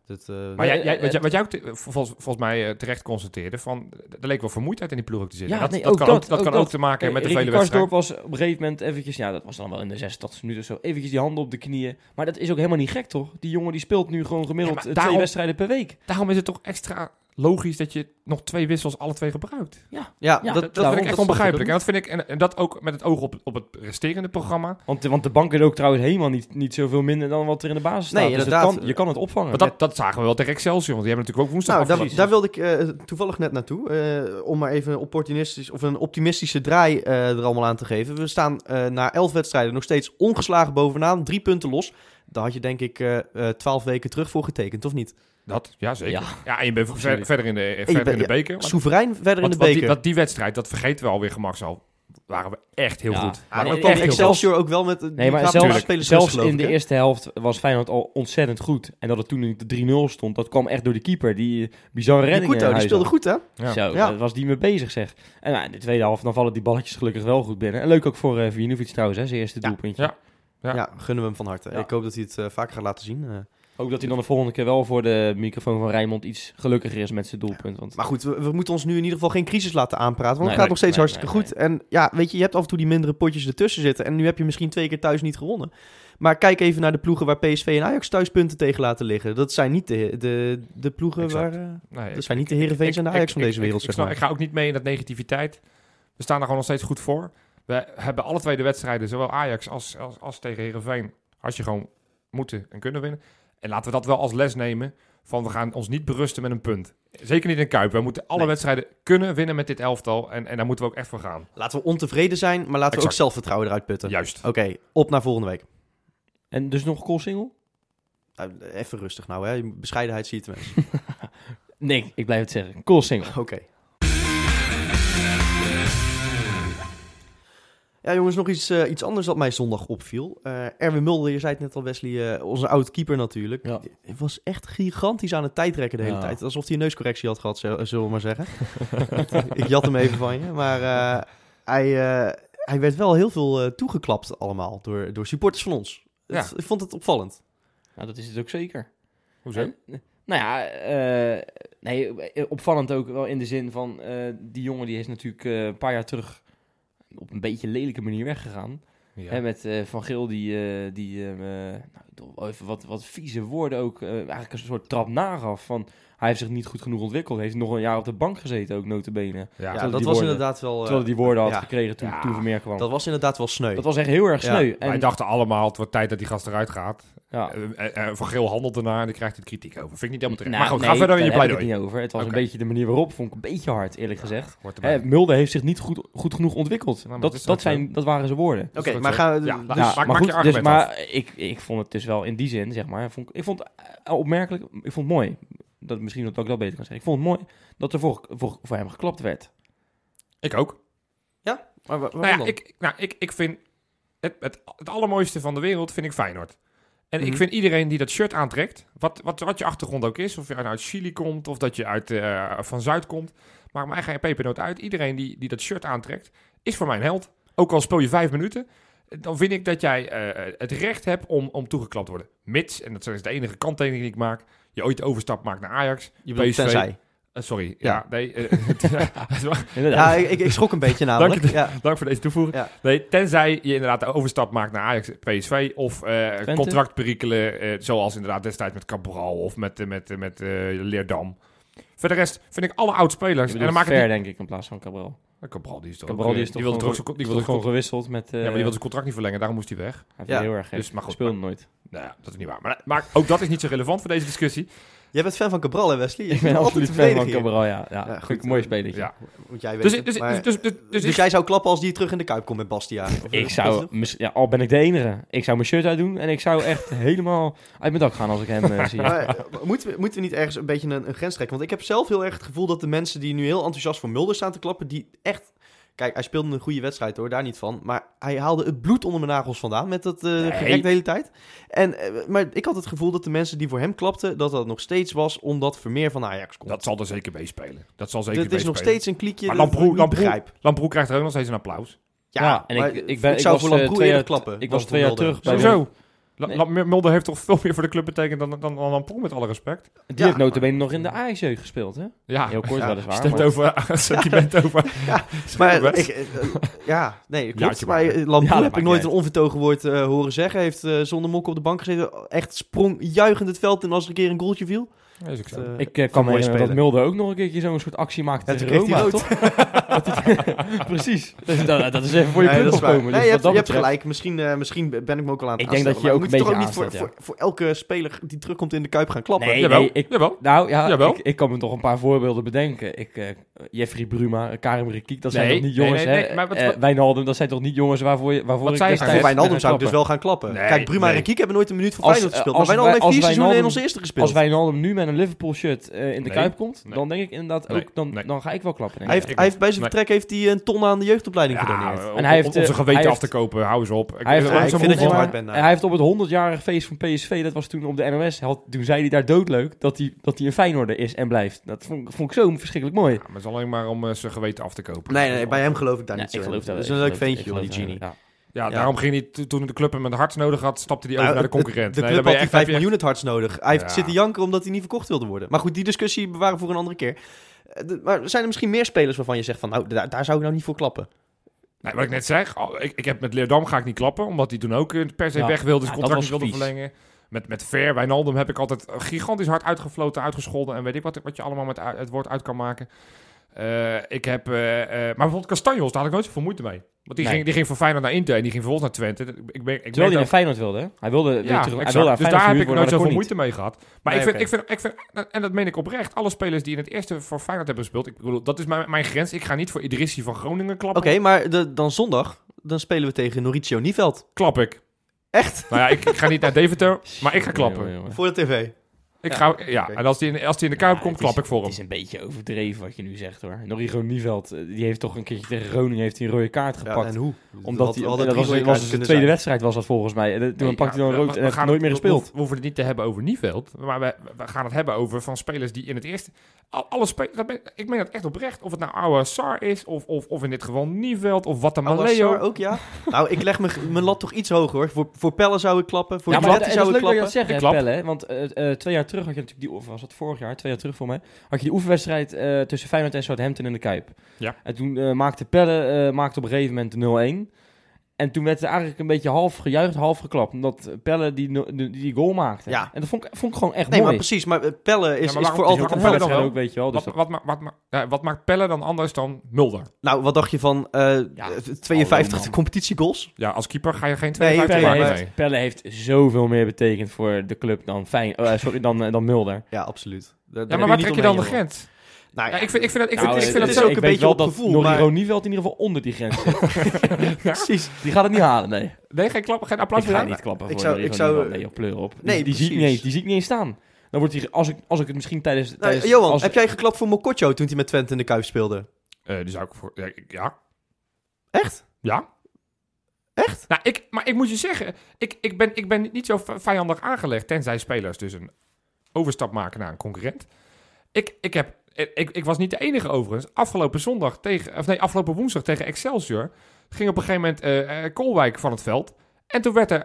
Speaker 2: Dat, eh,
Speaker 4: Nee,
Speaker 3: Maar jij, jij, wat,
Speaker 4: het-
Speaker 3: jij, wat jij ook te- volgens, volgens mij eh, terecht constateerde, van, er leek wel vermoeidheid in die ploeg ook te zitten.
Speaker 4: Ja,
Speaker 3: dat,
Speaker 4: nee,
Speaker 3: dat
Speaker 4: ook
Speaker 3: kan, ook,
Speaker 4: dat,
Speaker 3: dat
Speaker 4: ook dat.
Speaker 3: kan
Speaker 4: Eh,
Speaker 3: ook te maken hebben met de
Speaker 4: Ricky
Speaker 3: vele wedstrijden.
Speaker 4: Karsdorp was op een gegeven moment eventjes, ja, dat was dan wel in de 86 minuten of zo, eventjes die handen op de knieën. Maar dat is ook helemaal niet gek, toch? Die jongen die speelt nu gewoon gemiddeld
Speaker 3: Ja, maar
Speaker 4: eh,
Speaker 3: daarom-
Speaker 4: twee wedstrijden per week.
Speaker 3: Daarom is het toch extra logisch dat je nog twee wissels alle twee gebruikt.
Speaker 2: ja,
Speaker 4: ja,
Speaker 2: dat,
Speaker 4: dat-
Speaker 2: dat,
Speaker 3: Dat
Speaker 4: daarom,
Speaker 3: vind ik echt
Speaker 2: dat-
Speaker 3: onbegrijpelijk. En dat vind ik, en, en dat ook met het oog op, op het resterende programma.
Speaker 4: Want, want de bank is ook trouwens helemaal niet, niet zoveel minder dan wat er in de basis staat.
Speaker 2: Nee,
Speaker 4: Dus dat
Speaker 2: inderdaad.
Speaker 4: kan, je kan het opvangen.
Speaker 3: Want dat, dat zagen we wel tegen Excelsior, want die hebben natuurlijk ook woensdag
Speaker 2: Nou, daar,
Speaker 3: afgelopen.
Speaker 2: daar wilde ik eh, toevallig net naartoe. eh, om maar even een opportunistisch of een optimistische draai eh, er allemaal aan te geven. We staan eh, na elf wedstrijden nog steeds ongeslagen bovenaan. Drie punten los. Daar had je denk ik eh, twaalf weken terug voor getekend, of niet?
Speaker 3: Dat, ja zeker.
Speaker 4: Ja.
Speaker 3: Ja, en je bent ver-
Speaker 4: Absoluut.
Speaker 3: verder in de, eh,
Speaker 2: je
Speaker 3: verder
Speaker 2: bent-
Speaker 3: in de beker. Want-
Speaker 2: Soeverein verder in
Speaker 3: want-
Speaker 2: de
Speaker 3: want die,
Speaker 2: beker.
Speaker 3: dat die wedstrijd, dat vergeten we alweer gemaksal, waren we echt heel
Speaker 4: Ja.
Speaker 3: goed.
Speaker 4: Maar
Speaker 3: Waren we
Speaker 4: echt
Speaker 2: kwam
Speaker 4: heel
Speaker 2: Excelsior ook wel met eh, die
Speaker 4: nee, maar
Speaker 2: gaven
Speaker 4: zelfs,
Speaker 2: spelers
Speaker 4: zelfs
Speaker 2: rust, geloof
Speaker 4: in de
Speaker 2: ik, hè?
Speaker 4: eerste helft was Feyenoord al ontzettend goed. En dat het toen niet de 3-0 stond, dat kwam echt door de keeper. Die eh, bizarre
Speaker 2: Die
Speaker 4: redding.
Speaker 2: Couto, die speelde goed, hè?
Speaker 3: Ja.
Speaker 4: Zo,
Speaker 2: Ja.
Speaker 4: daar was die mee bezig, zeg. En nou, in de tweede helft, dan vallen die balletjes gelukkig wel goed binnen. En leuk ook voor eh Vinovic trouwens, hè, zijn eerste
Speaker 2: Ja.
Speaker 4: doelpuntje.
Speaker 3: Ja.
Speaker 2: Ja.
Speaker 3: Ja.
Speaker 2: gunnen we hem van harte.
Speaker 4: Ja.
Speaker 2: Ik hoop dat hij het eh, vaker gaat laten zien. eh.
Speaker 4: Ook dat hij dan de volgende keer wel voor de microfoon van Rijmond iets gelukkiger is met zijn doelpunt. Want
Speaker 2: Maar goed, we, we moeten ons nu in ieder geval geen crisis laten aanpraten. Want het
Speaker 4: Nee, nee,
Speaker 2: gaat nog steeds
Speaker 4: nee,
Speaker 2: hartstikke
Speaker 4: nee,
Speaker 2: goed. En ja, weet je, je hebt af en toe die mindere potjes ertussen zitten. En nu heb je misschien twee keer thuis niet gewonnen. Maar kijk even naar de ploegen waar PSV en Ajax thuis punten tegen laten liggen. Dat zijn niet de, de, de ploegen
Speaker 3: Exact.
Speaker 2: waar... eh,
Speaker 3: Nee,
Speaker 2: dat zijn niet de Heerenveens en de Ajax van
Speaker 3: ik-
Speaker 2: deze
Speaker 3: ik-
Speaker 2: wereld,
Speaker 3: ik,
Speaker 2: zeg
Speaker 3: snap-
Speaker 2: maar.
Speaker 3: ik ga ook niet mee in dat negativiteit. We staan er gewoon nog steeds goed voor. We hebben alle twee de wedstrijden, zowel Ajax als, als, als tegen Heerenveen, als je gewoon moeten en kunnen winnen. En laten we dat wel als les nemen van we gaan ons niet berusten met een punt. Zeker niet in Kuip. We moeten alle
Speaker 2: Nee.
Speaker 3: wedstrijden kunnen winnen met dit elftal. En, en daar moeten we ook echt voor gaan.
Speaker 2: Laten we ontevreden zijn, maar laten we ook
Speaker 3: Exact.
Speaker 2: zelfvertrouwen eruit putten.
Speaker 3: Juist.
Speaker 2: Oké, op naar volgende week.
Speaker 4: En dus nog een single?
Speaker 2: Nou, even rustig nou, hè. Bescheidenheid ziet het mensen.
Speaker 4: Nee, ik blijf het zeggen. Cool single.
Speaker 2: Oké. Ja, jongens, nog iets, eh, iets anders dat mij zondag opviel. Eh Erwin Mulder, je zei het net al, Wesley, eh, onze oud keeper natuurlijk.
Speaker 4: Ja.
Speaker 2: Hij was echt gigantisch aan het tijdrekken de hele
Speaker 4: Ja.
Speaker 2: tijd. Alsof hij een neuscorrectie had gehad, zo- zullen we maar zeggen. Ik jat hem even van je. Maar eh, hij, eh, hij werd wel heel veel eh, toegeklapt allemaal door, door supporters van ons.
Speaker 3: Ja.
Speaker 2: Het- ik vond het opvallend.
Speaker 4: Nou, dat is het ook zeker.
Speaker 3: Hoezo?
Speaker 4: En, nou ja, eh, nee, eh, opvallend ook wel in de zin van... eh, die jongen die is natuurlijk eh, een paar jaar terug op een beetje lelijke manier weggegaan.
Speaker 3: Ja.
Speaker 4: Hè, met eh, Van Geel die, eh, die eh, nou, toch wel even wat, wat vieze woorden ook... eh, eigenlijk een soort trap nagaf van... Hij heeft zich niet goed genoeg ontwikkeld. Heeft nog een jaar op de bank gezeten ook, notabene.
Speaker 3: Ja.
Speaker 2: Ja,
Speaker 4: terwijl
Speaker 2: dat
Speaker 4: die
Speaker 2: was
Speaker 4: woorden-
Speaker 2: inderdaad wel... eh,
Speaker 4: Terwijl hij die woorden had
Speaker 2: ja.
Speaker 4: gekregen toen,
Speaker 3: Ja.
Speaker 4: toen Vermeer kwam.
Speaker 2: dat
Speaker 4: Dat,
Speaker 2: was inderdaad wel sneu.
Speaker 4: was echt heel erg
Speaker 2: Ja.
Speaker 4: sneu.
Speaker 3: Wij
Speaker 4: En, Ah.
Speaker 3: dachten allemaal, het wordt tijd dat die gast eruit gaat.
Speaker 4: ja.
Speaker 3: Eh, eh, eh, van Geel handelt ernaar en dan krijgt hij de kritiek over. Vind ik niet helemaal terecht.
Speaker 4: Nou,
Speaker 3: maar goed, ga
Speaker 4: nee,
Speaker 3: verder in je
Speaker 4: daar heb ik
Speaker 3: pleidooi.
Speaker 4: het niet over. Het was
Speaker 3: Oké.
Speaker 4: een beetje de manier waarop, vond ik een beetje hard, eerlijk gezegd.
Speaker 3: Hoort erbij.
Speaker 4: Hè, Mulder heeft zich niet goed, goed genoeg ontwikkeld.
Speaker 3: Nou, maar
Speaker 4: dat,
Speaker 3: dat is
Speaker 4: dat,
Speaker 3: ook zo.
Speaker 4: zijn, dat waren zijn woorden.
Speaker 2: Oké,
Speaker 3: Dat is
Speaker 2: maar
Speaker 3: ook
Speaker 2: gaan
Speaker 3: zo.
Speaker 2: we...
Speaker 3: Ja,
Speaker 2: dus-
Speaker 3: laat- Dus maak- maak je
Speaker 4: dus,
Speaker 3: argument
Speaker 4: maar ik, ik vond het dus wel in die zin, zeg maar, vond, ik- ik vond het eh, opmerkelijk, ik vond het mooi, dat, misschien dat ik dat beter kan zeggen, ik vond het mooi dat er voor, voor, voor hem geklapt werd.
Speaker 3: Ik ook.
Speaker 2: maar wa- waarom
Speaker 3: Nou ja,
Speaker 2: dan?
Speaker 3: ik, nou, ik, ik vind het, het, het allermooiste van de wereld vind ik Feyenoord. En
Speaker 2: Mhm.
Speaker 3: ik vind iedereen die dat shirt aantrekt, wat, wat, wat je achtergrond ook is, of je nou uit Chili komt of dat je uit, eh, van Zuid komt, maakt mij geen pepernoot uit. Iedereen die, die dat shirt aantrekt, is voor mij een held. Ook al speel je vijf minuten, dan vind ik dat jij eh, het recht hebt om, om toegeklapt te worden. Mits, en dat is de enige kanttekening die ik maak, je ooit de overstap maakt naar Ajax.
Speaker 2: Je bedoelt
Speaker 3: PSV.
Speaker 2: tenzij.
Speaker 3: Eh, sorry,
Speaker 2: Ja.
Speaker 3: ja, nee. eh, het was-
Speaker 4: Inderdaad.
Speaker 2: Ja, ik, ik- ik schrok een beetje namelijk.
Speaker 3: Dank je.
Speaker 2: Ja.
Speaker 3: Dank voor deze toevoeging.
Speaker 2: Ja.
Speaker 3: Nee, tenzij je inderdaad de overstap maakt naar Ajax, PSV of eh,
Speaker 4: Twente.
Speaker 3: contractperikelen, eh, zoals inderdaad destijds met Cabral of met, eh, met, eh, met eh, Leerdam. Voor de rest vind ik alle oud-spelers.
Speaker 4: Ik
Speaker 3: En
Speaker 4: bedoel,
Speaker 3: dan maak ik
Speaker 4: ver, denk ik, in plaats van Cabral.
Speaker 3: Cabral die is toch.
Speaker 4: Cabral
Speaker 3: ook,
Speaker 4: die
Speaker 3: eh,
Speaker 4: is toch
Speaker 3: wilde
Speaker 4: gewoon,
Speaker 3: toch ook- die
Speaker 4: is
Speaker 3: wilde
Speaker 4: toch gewoon
Speaker 3: toch ook-
Speaker 4: gewisseld met... eh
Speaker 3: Ja, maar die wilde zijn contract niet verlengen, daarom moest hij weg.
Speaker 4: hij
Speaker 2: Ja,
Speaker 4: ja, heel erg gek.
Speaker 3: dus, maar goed.
Speaker 4: Speelde nooit.
Speaker 3: Nou ja, dat is niet waar. Maar, maar ook dat is niet zo relevant voor deze discussie.
Speaker 2: Jij bent fan van Cabral, hè Wesley? Je
Speaker 4: Ik
Speaker 2: bent
Speaker 4: ben
Speaker 2: altijd
Speaker 4: absoluut fan van
Speaker 2: verdediger.
Speaker 4: Cabral, ja. ja,
Speaker 2: Ja,
Speaker 4: goed,
Speaker 2: goed. eh,
Speaker 4: mooi spelletje.
Speaker 3: Ja.
Speaker 2: Moet jij
Speaker 3: Dus,
Speaker 2: weten.
Speaker 3: dus, dus,
Speaker 2: maar-
Speaker 3: dus, dus, dus,
Speaker 2: dus
Speaker 3: ik-
Speaker 2: jij zou klappen als die terug in de Kuip komt met Bastiaan? Of-
Speaker 4: Ik zou, mis- ja, al ben ik de enige, ik zou mijn shirt uitdoen en ik zou echt helemaal uit mijn dak gaan als ik hem eh, zie.
Speaker 2: Maar, eh, moeten, we, moeten we niet ergens een beetje een, een grens trekken? Want ik heb zelf heel erg het gevoel dat de mensen die nu heel enthousiast voor Mulder staan te klappen, die echt... Kijk, hij speelde een goede wedstrijd hoor, daar niet van. Maar hij haalde het bloed onder mijn nagels vandaan met dat eh
Speaker 3: Nee.
Speaker 2: gerecht de hele tijd. En, eh, maar ik had het gevoel dat de mensen die voor hem klapten, dat dat nog steeds was omdat Vermeer van Ajax komt.
Speaker 3: Dat zal er zeker bij spelen. Dat zal zeker
Speaker 2: Het is nog steeds een kliekje
Speaker 3: Maar
Speaker 2: dat ik
Speaker 3: Lamproe-
Speaker 2: niet
Speaker 3: Lamproe-
Speaker 2: begrijp.
Speaker 3: Lamproe krijgt er ook nog steeds een applaus.
Speaker 2: Ja,
Speaker 4: en
Speaker 2: maar
Speaker 4: ik, ik, ben, ik,
Speaker 2: zou
Speaker 4: was,
Speaker 2: voor
Speaker 4: eh,
Speaker 2: Lamproe
Speaker 4: twee
Speaker 2: eerder
Speaker 4: jaar,
Speaker 2: klappen. dan
Speaker 4: Ik was twee jaar
Speaker 2: voor
Speaker 4: terug bij
Speaker 2: Mulder.
Speaker 4: Willem.
Speaker 3: Sowieso. La, La- Mulder heeft toch veel meer voor de club betekend dan, dan, dan Lamproe, met alle respect.
Speaker 4: Die
Speaker 2: Ja, Ah,
Speaker 4: heeft notabene nog in de ajax gespeeld, hè?
Speaker 3: Ja,
Speaker 4: Heel kort
Speaker 2: ja,
Speaker 4: weliswaar.
Speaker 3: stemt
Speaker 4: maar-
Speaker 3: over sentiment over.
Speaker 2: Maar
Speaker 3: West.
Speaker 2: ik, eh, eh, ja, nee, klopt.
Speaker 3: Jaartje
Speaker 2: Maar
Speaker 3: maar.
Speaker 2: eh, Lamproe
Speaker 4: Ja, dat
Speaker 2: heb ik
Speaker 4: maakt
Speaker 2: nooit
Speaker 4: niet
Speaker 2: een onvertogen woord eh, horen zeggen. Heeft eh, zonder mok op de bank gezeten. Echt sprong juichend het veld in als er een keer een goaltje viel.
Speaker 3: Ja, is ook zo.
Speaker 2: Eh,
Speaker 4: Ik eh, kan me
Speaker 2: mooie
Speaker 4: herinneren dat
Speaker 2: speler.
Speaker 4: Mulder ook nog een keertje zo'n soort actie maakte
Speaker 2: Ja, toen
Speaker 4: tegen
Speaker 2: kreeg hij
Speaker 4: Roma,
Speaker 2: rood.
Speaker 4: toch? Dat hij- Precies. Dus dat, dat is even voor je
Speaker 2: Nee,
Speaker 4: punt
Speaker 2: dat is waar.
Speaker 4: opkomen.
Speaker 2: Nee,
Speaker 4: Dus
Speaker 2: je hebt,
Speaker 4: wat dat
Speaker 2: je hebt
Speaker 4: betreft-
Speaker 2: gelijk. Misschien, eh, misschien ben ik me ook al aan het
Speaker 4: Ik denk dat je
Speaker 2: aanstellen,
Speaker 4: ook
Speaker 2: maar moet
Speaker 4: een beetje
Speaker 2: toch ook niet voor,
Speaker 4: aanstelt,
Speaker 2: voor, voor elke speler die terugkomt in de Kuip gaan klappen.
Speaker 4: Nee,
Speaker 3: jawel,
Speaker 4: nee, ik-
Speaker 3: jawel.
Speaker 4: Nou ja,
Speaker 3: Jawel.
Speaker 4: ik, ik kan me toch een paar voorbeelden bedenken. Ik, eh, Jeffrey Bruma, Karim Rekiek, dat zijn
Speaker 3: Nee,
Speaker 4: toch niet
Speaker 3: nee,
Speaker 4: jongens,
Speaker 3: nee,
Speaker 4: hè?
Speaker 3: nee, maar wat-
Speaker 4: Eh,
Speaker 3: wat-
Speaker 4: Wijnaldum, dat zijn toch niet jongens waarvoor, je, waarvoor
Speaker 3: Wat
Speaker 4: ik
Speaker 3: zei je?
Speaker 2: En voor
Speaker 4: destijds...
Speaker 2: Wijnaldum zou ik dus
Speaker 4: klappen.
Speaker 2: wel gaan klappen.
Speaker 3: Nee,
Speaker 2: Kijk, Bruma
Speaker 3: nee.
Speaker 2: en Kiek hebben nooit een minuut voor
Speaker 4: Als,
Speaker 2: Feyenoord
Speaker 4: eh,
Speaker 2: gespeeld.
Speaker 4: als
Speaker 2: maar Wijnaldum
Speaker 4: wij-
Speaker 2: heeft vier
Speaker 4: als
Speaker 2: seizoenen in onze
Speaker 4: Wijnaldum-
Speaker 2: eerste gespeeld.
Speaker 4: Als Wijnaldum nu met een Liverpool shirt eh, in de
Speaker 3: Nee.
Speaker 4: Kuip komt,
Speaker 3: Nee.
Speaker 4: dan denk ik inderdaad
Speaker 3: Nee.
Speaker 4: ook, dan,
Speaker 3: Nee.
Speaker 4: dan ga ik wel klappen. denk
Speaker 2: hij
Speaker 4: ik.
Speaker 2: heeft, hij heeft bij zijn
Speaker 3: Nee.
Speaker 2: vertrek heeft hij een ton aan de jeugdopleiding gedoneerd.
Speaker 3: Ja,
Speaker 4: En
Speaker 3: en
Speaker 4: hij
Speaker 3: hij
Speaker 4: heeft,
Speaker 3: om onze
Speaker 4: eh,
Speaker 3: geweten
Speaker 4: hij
Speaker 3: af te kopen, hou eens op.
Speaker 4: Hij heeft,
Speaker 2: Ja, ik
Speaker 4: zo'n
Speaker 2: vind dat je
Speaker 4: honderd-
Speaker 2: te hard bent nou.
Speaker 4: hij heeft op het 100-jarige feest van PSV, dat was toen op de NOS, had, toen zei hij daar doodleuk dat hij, dat hij een Feyenoorder is en blijft. Dat vond, vond ik zo verschrikkelijk mooi.
Speaker 3: Ja, maar het is alleen maar om eh, zijn geweten af te kopen.
Speaker 2: Nee, nee, bij hem geloof ik daar
Speaker 4: Ja,
Speaker 2: niet zo in.
Speaker 4: wel.
Speaker 2: Dat is
Speaker 4: Nou, Ik
Speaker 2: een leuk
Speaker 4: geloof- ik
Speaker 2: ventje, joh, die
Speaker 4: geloof
Speaker 2: genie.
Speaker 4: daar wel in.
Speaker 3: Ja,
Speaker 2: Ja.
Speaker 3: daarom ging hij to- toen de club hem het hardst nodig had, stapte hij over
Speaker 2: Nou,
Speaker 3: naar de concurrent.
Speaker 2: De
Speaker 3: Nee,
Speaker 2: club
Speaker 3: dan ben
Speaker 2: had
Speaker 3: je
Speaker 2: die 5
Speaker 3: echt- heb je
Speaker 2: miljoen het hardst nodig. Hij heeft
Speaker 3: Ja.
Speaker 2: zitten janken omdat hij niet verkocht wilde worden. Maar goed, die discussie bewaren we voor een andere keer. Eh, de- Maar zijn er misschien meer spelers waarvan je zegt van... nou, daar, daar zou ik nou niet voor klappen.
Speaker 3: Nee, wat ik net zeg, oh, ik, ik heb met Leerdam ga ik niet klappen, omdat hij toen ook eh, per se
Speaker 4: Ja.
Speaker 3: weg wilde, zijn
Speaker 4: Ja,
Speaker 3: contract
Speaker 4: dat
Speaker 3: niet
Speaker 4: was
Speaker 3: wilde
Speaker 4: vies.
Speaker 3: verlengen. Met, met Ver, Wijnaldum heb ik altijd gigantisch hard uitgefloten, uitgescholden en weet ik wat, wat je allemaal met u- het woord uit kan maken. Eh, ik heb, eh, eh, maar bijvoorbeeld Castanjos, daar had ik nooit zoveel moeite mee. Want die,
Speaker 4: Nee.
Speaker 3: ging, die ging van Feyenoord naar Inter en die ging vervolgens naar Twente. Ik- Ik ben, ik
Speaker 4: Terwijl
Speaker 3: merk
Speaker 4: hij
Speaker 3: dat-
Speaker 4: naar Feyenoord wilde, hè? Hij wilde, weer
Speaker 3: Ja,
Speaker 4: terug- hij
Speaker 3: exact.
Speaker 4: wilde naar
Speaker 3: dus
Speaker 4: Feyenoord
Speaker 3: daar heb
Speaker 4: gehuurd
Speaker 3: ik
Speaker 4: worden,
Speaker 3: nooit
Speaker 4: maar
Speaker 3: zoveel
Speaker 4: dat kon
Speaker 3: moeite mee gehad. Maar
Speaker 2: Nee,
Speaker 3: ik, vind,
Speaker 2: oké.
Speaker 3: ik, vind, ik vind, en dat meen ik oprecht, alle spelers die in het eerste voor Feyenoord hebben gespeeld, ik bedoel, dat is mijn, mijn grens. Ik ga niet voor Idrissi van Groningen
Speaker 2: Oké,
Speaker 3: klappen.
Speaker 2: maar de- dan zondag... dan spelen we tegen Mauricio Nieveld.
Speaker 3: Klap ik.
Speaker 2: Echt?
Speaker 3: Nou ja, ik, ik ga niet naar Deventer,
Speaker 4: niet.
Speaker 3: maar ik ga klappen.
Speaker 4: Jongen, jongen.
Speaker 2: Voor de tv.
Speaker 3: Ik
Speaker 2: Ja,
Speaker 3: ga, ja,
Speaker 2: oké.
Speaker 3: en als die, in, als die in de Kuip
Speaker 4: Ja,
Speaker 3: komt,
Speaker 4: het is-
Speaker 3: klap ik voor hem.
Speaker 4: Het is een beetje overdreven wat je nu zegt, hoor. Norrigo Nieveld, eh, die heeft toch een keertje tegen Groningen heeft hij een rode kaart
Speaker 2: Ja,
Speaker 4: gepakt.
Speaker 2: en hoe?
Speaker 4: omdat hij,
Speaker 2: Had- had
Speaker 4: dat
Speaker 2: het
Speaker 4: was,
Speaker 2: drie rode
Speaker 4: was
Speaker 2: kaarten
Speaker 4: de tweede
Speaker 2: kunnen zijn.
Speaker 4: wedstrijd was dat volgens mij. En, eh, Toen
Speaker 3: Nee,
Speaker 4: pakte hij
Speaker 3: ja,
Speaker 4: dan
Speaker 3: we-
Speaker 4: rood
Speaker 3: we
Speaker 4: en heeft
Speaker 3: gaan
Speaker 4: hij nooit
Speaker 3: het-
Speaker 4: meer
Speaker 3: we-
Speaker 4: gespeeld.
Speaker 3: We, hoeven het niet te hebben over Nieveld, maar we, we gaan het hebben over van spelers die in het eerste... al- Alle spelers, dat ben- ik meen dat echt oprecht. Of het nou Awa Sar is, of, of, of in dit geval Nieveld, of Watamaleo.
Speaker 2: Alassar ook, ja. nou, ik leg mijn, mijn lat toch iets hoger, hoor. Voor, voor Pelle zou ik klappen. Voor
Speaker 4: Ja,
Speaker 2: ja,
Speaker 4: maar dat, dat is
Speaker 2: zou
Speaker 4: leuk
Speaker 2: ik
Speaker 4: dat je
Speaker 2: klappen.
Speaker 4: dat zegt,
Speaker 3: Ik
Speaker 4: hè,
Speaker 3: klap.
Speaker 4: Pelle. hè? Want eh, eh, twee jaar terug had je natuurlijk die... Of was dat vorig jaar? Twee jaar terug voor mij. Had je die oefenwedstrijd eh, tussen Feyenoord en Southampton in de Kuip.
Speaker 3: Ja.
Speaker 4: En toen eh, maakte Pelle eh, maakte op een gegeven moment de 0-1. En toen werd er eigenlijk een beetje half gejuicht, half geklapt. Omdat Pelle die, no- die, die goal maakte.
Speaker 2: Ja.
Speaker 4: En dat vond ik, vond ik gewoon echt
Speaker 2: Nee, maar
Speaker 4: mooi.
Speaker 2: precies. Maar eh, Pelle is,
Speaker 3: maar
Speaker 2: is voor
Speaker 3: waarom- is
Speaker 2: altijd
Speaker 3: waarom
Speaker 2: een
Speaker 3: Pelle
Speaker 2: Pelle.
Speaker 3: dan
Speaker 4: wedstrijd
Speaker 3: wel?
Speaker 4: ook, weet je wel. Dus
Speaker 3: Wat,
Speaker 4: dat,
Speaker 3: wat, ma- wat, ma- ja, wat maakt Pelle dan anders dan Mulder?
Speaker 2: Nou, wat dacht je van eh,
Speaker 4: Ja,
Speaker 2: 52
Speaker 4: man.
Speaker 2: competitiegoals?
Speaker 3: Ja, als keeper ga je geen
Speaker 2: Nee,
Speaker 3: 52
Speaker 4: Pelle,
Speaker 2: Pelle
Speaker 3: maken.
Speaker 4: heeft,
Speaker 3: Nee.
Speaker 4: Pelle heeft zoveel meer betekend voor de club dan, Fijn, eh, sorry, dan, eh, dan Mulder.
Speaker 2: Ja, absoluut. Daar-
Speaker 3: Ja,
Speaker 2: daar
Speaker 3: maar
Speaker 2: heb
Speaker 3: waar
Speaker 2: niet
Speaker 3: trek je dan de
Speaker 2: omheen,
Speaker 3: grens?
Speaker 2: joh. Nou,
Speaker 3: Ja, ik vind, ik vind dat, ik
Speaker 4: Nou,
Speaker 3: vind,
Speaker 4: eh,
Speaker 3: ik vind
Speaker 2: het is
Speaker 3: dat zo...
Speaker 2: ook een
Speaker 4: ik weet
Speaker 2: beetje
Speaker 4: wel
Speaker 2: op
Speaker 4: dat
Speaker 2: gevoel,
Speaker 4: Norrie
Speaker 2: maar-
Speaker 4: Roniveld in ieder geval onder die grens zit.
Speaker 2: precies.
Speaker 4: Die gaat het niet halen, nee.
Speaker 3: Nee, geen, klap, geen applaus
Speaker 4: Ik ga
Speaker 3: meer.
Speaker 4: niet klappen
Speaker 2: Ik
Speaker 4: voor
Speaker 2: zou-
Speaker 4: Rodrigo
Speaker 2: ik zou-
Speaker 4: Niemand. Nee, joh, pleur op. Die-
Speaker 2: Nee,
Speaker 4: die, zie ik niet
Speaker 2: precies.
Speaker 4: eens, die zie ik niet eens staan. Dan wordt hij, als ik, als ik het misschien tijdens...
Speaker 2: Nou,
Speaker 4: tijdens
Speaker 2: Johan,
Speaker 4: dus als,
Speaker 2: heb jij geklapt voor Mokotjo toen hij met Twente in de Kuip speelde?
Speaker 3: Eh, die zou ik voor... ja, ik- Ja.
Speaker 2: Echt?
Speaker 3: Ja.
Speaker 2: Echt?
Speaker 3: Nou, ik, maar ik moet je zeggen, ik, ik, ben, ik ben niet zo v- vijandig aangelegd, tenzij spelers dus een overstap maken naar een concurrent. Ik, ik, heb, eh, ik, ik was niet de enige overigens. Afgelopen zondag tegen, of nee, afgelopen woensdag tegen Excelsior ging op een gegeven moment eh, eh, Kolwijk van het veld. En toen werd er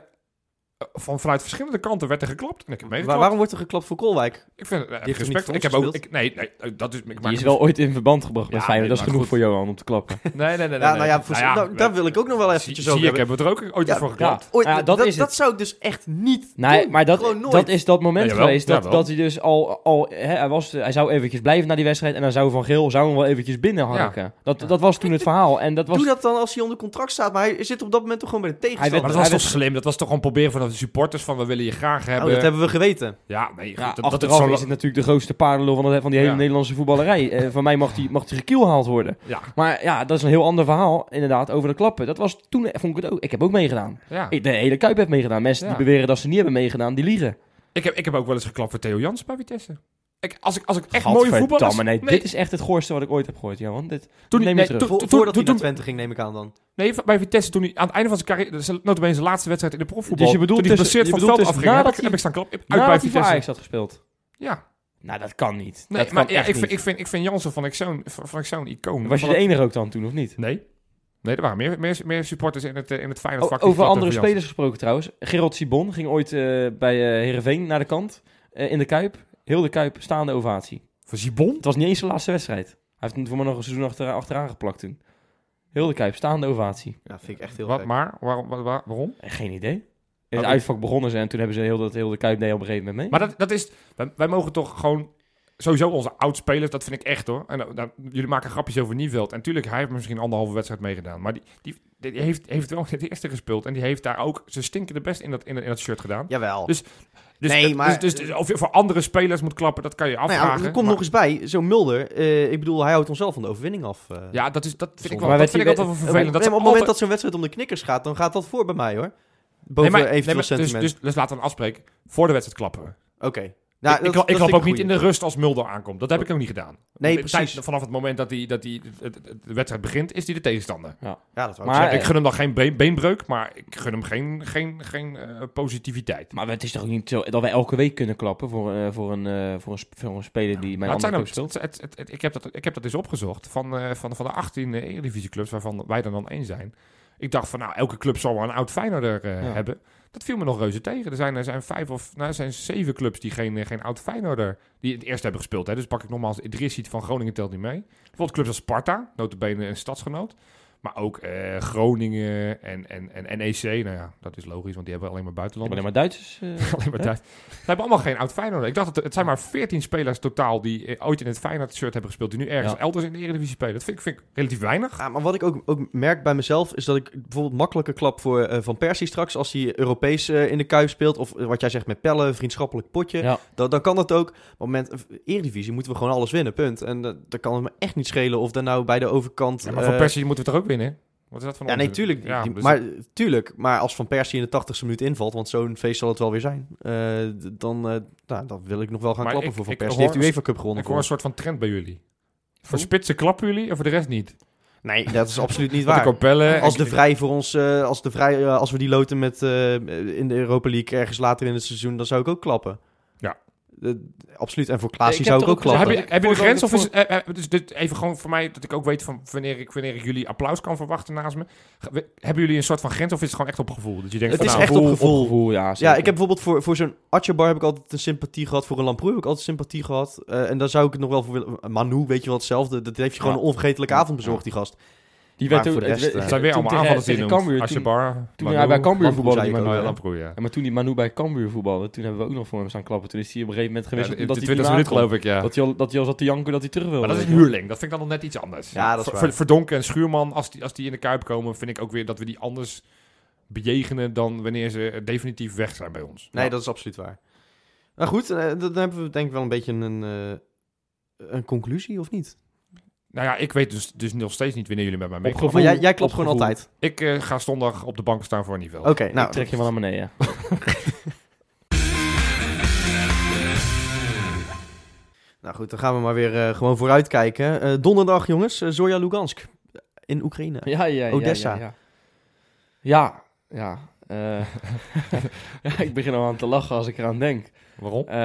Speaker 3: eh, van, vanuit verschillende kanten werd er geklapt. En ik heb
Speaker 2: Waar-
Speaker 3: meegeklapt.
Speaker 2: waarom wordt er geklapt voor Kolwijk?
Speaker 3: Ik vind eh,
Speaker 2: heeft
Speaker 3: respect.
Speaker 2: toch niet
Speaker 3: Ik heb
Speaker 2: voor ons
Speaker 3: ook. Ik, nee, nee, eh, dat is. Ik
Speaker 4: die
Speaker 3: maak
Speaker 4: is wel ooit in verband gebracht met
Speaker 3: Ja,
Speaker 4: Feyenoord.
Speaker 3: nee,
Speaker 4: Dat is genoeg
Speaker 3: maar goed.
Speaker 4: voor Johan om te klappen.
Speaker 3: Nee, nee, nee.
Speaker 2: ja,
Speaker 3: nee,
Speaker 2: nou ja, voor- nou, daar wil ik ook nog wel
Speaker 3: Zie,
Speaker 2: eventjes
Speaker 3: zie
Speaker 2: over
Speaker 3: ik
Speaker 2: hebben.
Speaker 3: heb er ook ooit
Speaker 2: Ja,
Speaker 3: iets voor geklapt.
Speaker 4: Ja.
Speaker 2: Ooit-
Speaker 4: Ah,
Speaker 2: dat,
Speaker 4: dat
Speaker 2: dat,
Speaker 4: is het.
Speaker 2: zou ik dus echt niet
Speaker 4: Nee,
Speaker 2: doen.
Speaker 4: maar dat,
Speaker 2: Gewoon nooit.
Speaker 4: dat is dat moment
Speaker 3: Jawel,
Speaker 4: geweest dat,
Speaker 3: jawel.
Speaker 4: dat hij dus al... al hè, hij, was, hij zou eventjes blijven naar die wedstrijd en dan zou Van Geel zou hem wel eventjes binnenharken. Dat, dat was toen het verhaal. En dat was,
Speaker 2: Doe dat dan als hij onder contract staat, maar hij zit op dat moment toch gewoon bij de tegenstander.
Speaker 3: Maar dat was toch slim? Dat was toch gewoon proberen van de supporters van we willen je graag
Speaker 2: Oh,
Speaker 3: hebben.
Speaker 2: dat hebben we geweten.
Speaker 3: Ja, nee, goed,
Speaker 4: Ja,
Speaker 3: dat, dat
Speaker 4: achteraf
Speaker 3: is zo
Speaker 4: is het natuurlijk de grootste paardenlul van, de- van die hele
Speaker 3: Ja.
Speaker 4: Nederlandse voetballerij. Eh, van mij mag die, mag die gekielhaald worden.
Speaker 3: Ja,
Speaker 4: Maar ja, dat is een heel ander verhaal inderdaad over de klappen. Dat was toen, vond ik het ook. Ik heb ook meegedaan.
Speaker 3: ja.
Speaker 4: Ik, de hele Kuip heeft meegedaan. Mensen die
Speaker 3: Ja.
Speaker 4: beweren dat ze niet hebben meegedaan, die liegen.
Speaker 3: Ik, heb, ik heb ook wel eens geklapt voor Theo Jans bij Vitesse. Ik, als, ik, als ik echt mooie voetballers...
Speaker 4: Gadverdamme, Nee, dit is echt het goorste wat ik ooit heb gehoord, Johan. Dit,
Speaker 3: toen, hij-
Speaker 4: neem je
Speaker 3: nee,
Speaker 4: terug.
Speaker 3: toen-
Speaker 2: Vo-
Speaker 3: toen-
Speaker 2: voordat
Speaker 3: toen-
Speaker 2: hij naar
Speaker 3: toen-
Speaker 2: Twente ging, neem ik aan dan.
Speaker 3: Nee, bij Vitesse, toen hij aan het einde van zijn carrière... dat is notabene zijn laatste wedstrijd in de profvoetbal.
Speaker 4: Dus je bedoelt
Speaker 3: toen hij
Speaker 4: tussen-
Speaker 3: geblesseerd van
Speaker 4: je
Speaker 3: het veld
Speaker 4: bedoelt tussen-
Speaker 3: afging, heb ik,
Speaker 4: nadat
Speaker 3: heb ik
Speaker 4: hij-
Speaker 3: staan klap. Uit
Speaker 4: nadat
Speaker 3: bij
Speaker 4: hij voor
Speaker 3: Vitesse.
Speaker 4: Ah, Ajax had gespeeld.
Speaker 3: Ja.
Speaker 4: Nou, dat kan niet.
Speaker 3: Nee,
Speaker 4: dat
Speaker 3: maar
Speaker 4: kan
Speaker 3: ja,
Speaker 4: echt
Speaker 3: ik, vind,
Speaker 4: niet.
Speaker 3: ik, vind, ik vind Jansen van ik zo'n van ik zo'n icoon.
Speaker 4: Was je
Speaker 3: Van
Speaker 4: de
Speaker 3: dat-
Speaker 4: enige ook dan toen, of niet?
Speaker 3: Nee. Nee, er waren meer, meer, meer supporters in het, eh, in het
Speaker 4: O-
Speaker 3: Feyenoord vak. die
Speaker 4: over
Speaker 3: klapten
Speaker 4: andere
Speaker 3: voor Jansen.
Speaker 4: spelers gesproken trouwens. Gerald Sibon ging ooit eh, bij eh Heerenveen naar de kant. eh, in de Kuip. Heel de Kuip, staande ovatie.
Speaker 3: Van Zibon?
Speaker 4: Het was niet eens zijn laatste wedstrijd. Hij heeft voor mij nog een seizoen achter, achteraan geplakt toen. Heel de Kuip, staande ovatie.
Speaker 2: Ja, vind ik echt heel
Speaker 3: Wat,
Speaker 2: gek.
Speaker 3: maar? Waarom? waar- waar- waarom?
Speaker 4: Eh, Geen idee. In het
Speaker 3: Oké.
Speaker 4: uitvak begonnen ze en toen hebben ze heel, dat, heel de Kuip deed op een gegeven moment mee.
Speaker 3: Maar dat, dat is... Wij, wij mogen toch gewoon... Sowieso onze oudspelers, dat vind ik echt hoor. En, eh, nou, jullie maken grapjes over Nieveld. En tuurlijk, hij heeft misschien anderhalve wedstrijd meegedaan. Maar die, die, die heeft, heeft wel het eerste gespeeld. En die heeft daar ook zijn stinkende best in dat, in, dat- in dat shirt gedaan.
Speaker 2: Jawel.
Speaker 3: Dus- Dus,
Speaker 2: Nee,
Speaker 3: dat-
Speaker 2: maar-
Speaker 3: dus, dus, dus of je voor andere spelers moet klappen, dat kan je
Speaker 2: Nou ja,
Speaker 3: afvragen.
Speaker 2: er komt
Speaker 3: maar-
Speaker 2: nog eens bij, zo'n Mulder, eh, ik bedoel, hij houdt onszelf van de overwinning af. eh.
Speaker 3: Ja, dat, is, dat vind ik
Speaker 2: Zonde.
Speaker 3: wel,
Speaker 4: Maar
Speaker 3: dat
Speaker 4: werd
Speaker 3: vind
Speaker 4: hij-
Speaker 3: ik altijd wel vervelend.
Speaker 2: nee, maar
Speaker 3: Dat
Speaker 2: op
Speaker 3: ze
Speaker 2: het moment
Speaker 3: altijd-
Speaker 2: dat zo'n wedstrijd om de knikkers gaat, dan gaat dat voor bij mij hoor. Boven
Speaker 3: Nee,
Speaker 2: eventueel
Speaker 3: maar- nee, maar dus,
Speaker 2: sentiment.
Speaker 3: dus, dus laten we dan afspreken. Voor de wedstrijd klappen we.
Speaker 2: Oké. Nou,
Speaker 3: ik, ik, ik klap ook niet in de rust als Mulder aankomt. Dat heb ik ook niet gedaan.
Speaker 2: Nee,
Speaker 3: De
Speaker 2: precies.
Speaker 3: tijd- vanaf het moment dat, hij, dat hij, het- het- de wedstrijd begint, is hij de tegenstander.
Speaker 2: Ja, dat wou ik
Speaker 4: Maar-
Speaker 3: Dus ja,
Speaker 2: zeggen.
Speaker 3: ik gun hem dan geen been- beenbreuk, maar ik gun hem geen, geen, geen eh, positiviteit.
Speaker 4: Maar het is toch ook niet zo dat wij elke week kunnen klappen voor, eh, voor, een, eh, voor, een, sp- voor een speler die mijn
Speaker 3: Maar het
Speaker 4: andere
Speaker 3: zijn
Speaker 4: club
Speaker 3: ook,
Speaker 4: speelt?
Speaker 3: het, het, het- ik, heb dat, ik heb dat eens opgezocht van, eh, van, van de 18 eh, Eredivisieclubs waarvan wij er dan één zijn. Ik dacht van, nou, elke club zal wel een oud Feyenoorder eh,
Speaker 4: Ja.
Speaker 3: hebben. Dat viel me nog reuze tegen. Er zijn, er zijn vijf of nou, er zijn zeven clubs die geen, eh, geen oud Feyenoorder... die het eerst hebben gespeeld. Hè. Dus pak ik nogmaals Idrissi van Groningen telt niet mee. Bijvoorbeeld clubs als Sparta, notabene een stadsgenoot. Maar ook eh, Groningen en, en, en NEC. Nou ja, dat is logisch, want die hebben alleen maar
Speaker 4: Ik ben
Speaker 3: buitenlanders.
Speaker 4: alleen maar Duitsers. eh,
Speaker 3: Alleen maar Duits. Ze hebben allemaal geen oud Feyenoord. Ik dacht, dat het, het zijn maar 14 spelers totaal die eh, ooit in het Feyenoord-shirt hebben gespeeld. Die nu ergens
Speaker 4: Ja.
Speaker 3: elders in de Eredivisie spelen. Dat vind ik, vind ik relatief weinig.
Speaker 2: Ja, maar wat ik ook, ook merk bij mezelf is dat ik bijvoorbeeld makkelijker klap voor eh, Van Persie straks als hij Europees eh, in de kuif speelt. Of eh, wat jij zegt met pellen, vriendschappelijk potje.
Speaker 4: Ja.
Speaker 2: Dan, dan kan dat ook. Op het moment, eh, Eredivisie moeten we gewoon alles winnen, punt. En dat dat kan het me echt niet schelen of daar nou bij de overkant...
Speaker 3: Ja, maar van
Speaker 2: eh,
Speaker 3: Persie moeten we toch ook winnen? Wat is dat van
Speaker 2: Ja, nee,
Speaker 3: onzin?
Speaker 2: tuurlijk.
Speaker 3: Ja,
Speaker 2: Die-
Speaker 3: dus-
Speaker 2: maar, tuurlijk. Maar als Van Persie in de 80ste minuut invalt, want zo'n feest zal het wel weer zijn, eh, d- dan, eh, nou, dan wil ik nog wel gaan
Speaker 3: Maar
Speaker 2: klappen
Speaker 3: ik-
Speaker 2: voor Van
Speaker 3: ik
Speaker 2: Persie. Die
Speaker 3: hoor
Speaker 2: heeft
Speaker 3: een-
Speaker 2: UEFA Cup gewonnen.
Speaker 3: ik hoor een
Speaker 2: voor
Speaker 3: soort van trend bij jullie. Voor
Speaker 2: Hoe?
Speaker 3: spitsen klappen jullie en voor de rest niet.
Speaker 2: ons. Nee, dat is absoluut niet
Speaker 3: Waar?
Speaker 2: waar.
Speaker 3: De Capelle.
Speaker 2: Als de vrij voor ons, eh, als, de vrij, eh, als we die loten met, eh, in de Europa League ergens later in het seizoen, dan zou ik ook klappen.
Speaker 3: Ja.
Speaker 2: Eh, absoluut. En voor
Speaker 4: Ik
Speaker 2: Klaasie
Speaker 4: heb
Speaker 2: zou ik
Speaker 4: toch
Speaker 2: ook
Speaker 4: ook gezegd-
Speaker 2: klappen.
Speaker 3: Dus heb je,
Speaker 4: Ik
Speaker 3: heb je een
Speaker 4: vond
Speaker 3: grens
Speaker 4: dat
Speaker 3: of is,
Speaker 4: ik
Speaker 3: eh, eh, dus dit even gewoon voor mij dat ik ook weet van wanneer ik, wanneer ik jullie applaus kan verwachten naast me. Ge- we- Hebben jullie een soort van grens of is het gewoon echt op gevoel? Dat je denkt
Speaker 2: Het
Speaker 3: van,
Speaker 2: is
Speaker 3: nou,
Speaker 2: echt op gevoel.
Speaker 4: ja,
Speaker 2: Ja,
Speaker 4: zeker.
Speaker 2: ik heb bijvoorbeeld voor, voor zo'n Atjebar heb ik altijd een sympathie gehad. Voor een Lamproe heb ik altijd sympathie gehad. Eh, en daar zou ik het nog wel voor willen. Manu, weet je wel, hetzelfde. Dat heeft je gewoon
Speaker 4: Ja.
Speaker 2: een onvergetelijke
Speaker 4: Ja.
Speaker 2: avond bezorgd, die gast.
Speaker 4: Die
Speaker 2: Maar
Speaker 4: werd toen,
Speaker 2: voor de rest,
Speaker 4: het-
Speaker 2: eh,
Speaker 3: Het
Speaker 4: het-
Speaker 3: zijn weer
Speaker 4: toen
Speaker 3: allemaal
Speaker 4: tegen-
Speaker 3: aanvallers die je
Speaker 4: tegen
Speaker 3: noemt.
Speaker 4: Cambuur, toen-
Speaker 3: Asjebar,
Speaker 4: Toen hij bij
Speaker 3: Manu.
Speaker 4: Cambuur
Speaker 2: Lamproe
Speaker 4: voetbalde,
Speaker 2: zei
Speaker 4: die
Speaker 2: ik
Speaker 4: Manu,
Speaker 2: ook,
Speaker 4: hè?
Speaker 3: Oh ja, Lamproe, ja.
Speaker 4: Ja, maar toen die Manu bij Cambuur voetbalde, toen hebben we ook nog voor hem staan klappen. Toen is hij op een gegeven moment
Speaker 3: Ja,
Speaker 4: geweest
Speaker 3: de-
Speaker 4: omdat
Speaker 3: de
Speaker 4: hij er niet
Speaker 3: 20 minuut
Speaker 4: aankwam.
Speaker 3: geloof ik, ja.
Speaker 4: Dat hij, al, dat hij al zat te janken dat hij terug wilde.
Speaker 3: Maar dat is een
Speaker 4: weet je wel.
Speaker 3: huurling. Dat vind ik dan nog net iets anders.
Speaker 2: Ja, dat is
Speaker 3: Ver-
Speaker 2: waar.
Speaker 3: ver- Verdonken en Schuurman, als die, als die in de Kuip komen, vind ik ook weer dat we die anders bejegenen dan wanneer ze eh, definitief weg zijn bij ons.
Speaker 2: Nee,
Speaker 3: Ja.
Speaker 2: dat is absoluut waar. Nou goed, eh, dan hebben we denk ik wel een beetje een, eh, een conclusie, of niet?
Speaker 3: Nou ja, ik weet dus, dus nog steeds niet wanneer jullie met mij mee.
Speaker 4: Opgevoed.
Speaker 2: Maar
Speaker 4: Gevoel,
Speaker 2: jij, jij klapt gewoon
Speaker 4: opgevoel.
Speaker 2: altijd.
Speaker 3: Ik eh, ga zondag op de bank staan voor niveau.
Speaker 2: Oké, nou.
Speaker 4: Ik trek je wel naar beneden.
Speaker 2: Nou goed, dan gaan we maar weer eh, gewoon vooruitkijken. Eh, donderdag, jongens, eh, Zorya Lugansk in Oekraïne.
Speaker 4: Ja, ja, ja.
Speaker 2: Odessa.
Speaker 4: Ja, ja. ja. ja, eh, ja, ik begin al aan te lachen als ik eraan denk.
Speaker 3: Waarom?
Speaker 4: Eh,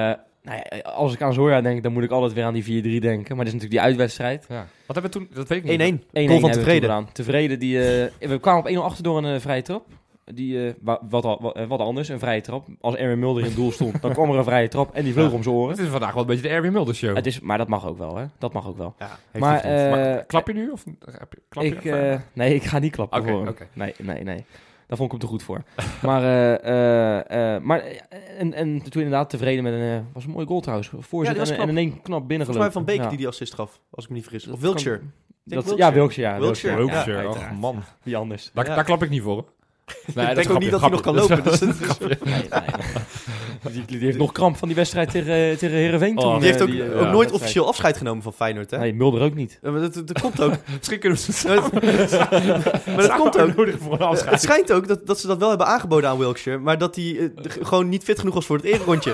Speaker 4: nou ja, als ik aan Zorja denk, dan moet ik altijd weer aan die 4-3 denken. Maar dit is natuurlijk die uitwedstrijd. 1-1
Speaker 3: Ja. Wat hebben we toen? Dat weet ik niet.
Speaker 2: 1-1.
Speaker 4: hebben
Speaker 2: Goal van
Speaker 4: we toen
Speaker 2: tevreden.
Speaker 4: gedaan. Tevreden, die, eh, we kwamen op 1-0 achter door een eh, vrije trap. Die, eh, wa- wat, al- wa- eh, wat anders, een vrije trap. Als Erwin Mulder in het doel stond, dan kwam er een vrije trap en die vloog
Speaker 3: Ja.
Speaker 4: om zijn oren.
Speaker 3: Het is vandaag wel een beetje de Erwin Mulder show.
Speaker 2: Ah,
Speaker 4: Het is, maar dat mag ook wel, hè? Dat mag ook wel.
Speaker 2: Ja, heeft hij
Speaker 4: maar,
Speaker 2: verdiend.
Speaker 4: eh,
Speaker 3: Maar klap je nu? Of, heb je- klap je
Speaker 4: ik,
Speaker 3: even?
Speaker 4: eh, nee, ik ga niet klappen
Speaker 3: Oké,
Speaker 4: voor hem.
Speaker 3: oké.
Speaker 4: Nee, nee, nee. Daar vond ik hem te goed voor. maar, eh, eh, eh, maar eh, en, en toen inderdaad tevreden met een... eh, was een mooie goal trouwens.
Speaker 2: Ja,
Speaker 4: Voorzet
Speaker 2: die was
Speaker 4: en,
Speaker 2: knap.
Speaker 4: en in één knap
Speaker 2: Volgens
Speaker 4: binnengelopen.
Speaker 2: mij Van Beek
Speaker 4: ja.
Speaker 2: die die assist gaf, als ik me niet vergis.
Speaker 4: Dat
Speaker 2: Of Wiltshire.
Speaker 4: kan-
Speaker 2: Ik
Speaker 4: Dat,
Speaker 2: denk
Speaker 4: ja,
Speaker 2: Wiltshire.
Speaker 4: Wiltshire. Ja,
Speaker 2: Wiltshire,
Speaker 4: Wiltshire.
Speaker 3: Wiltshire,
Speaker 4: Ja,
Speaker 3: och,
Speaker 4: uiteraard.
Speaker 3: man.
Speaker 4: Wie anders?
Speaker 3: Daar,
Speaker 2: Ja.
Speaker 3: daar klap ik niet voor. hoor. Nee,
Speaker 2: ik
Speaker 3: dat is
Speaker 2: denk ook
Speaker 3: grapje,
Speaker 2: niet dat hij nog
Speaker 3: grapje.
Speaker 2: kan lopen. Dus dat is-
Speaker 4: Nee, nee, nee. Die, die heeft nog kramp van die wedstrijd tegen, eh, tegen Heerenveen
Speaker 3: Oh,
Speaker 4: toen.
Speaker 2: die heeft
Speaker 4: eh,
Speaker 2: ook,
Speaker 4: eh,
Speaker 2: ook
Speaker 4: wedstrijd.
Speaker 2: nooit officieel afscheid genomen van Feyenoord, hè?
Speaker 4: Nee, Mulder ook niet.
Speaker 2: Eh, Maar dat, dat komt ook.
Speaker 3: Misschien kunnen we ze
Speaker 2: maar dat komt ook.
Speaker 3: nodig voor een
Speaker 2: Eh,
Speaker 3: afscheid.
Speaker 2: Het schijnt ook dat, dat ze dat wel hebben aangeboden aan Wiltshire, maar dat hij eh, g- gewoon niet fit genoeg was voor het eerrondje.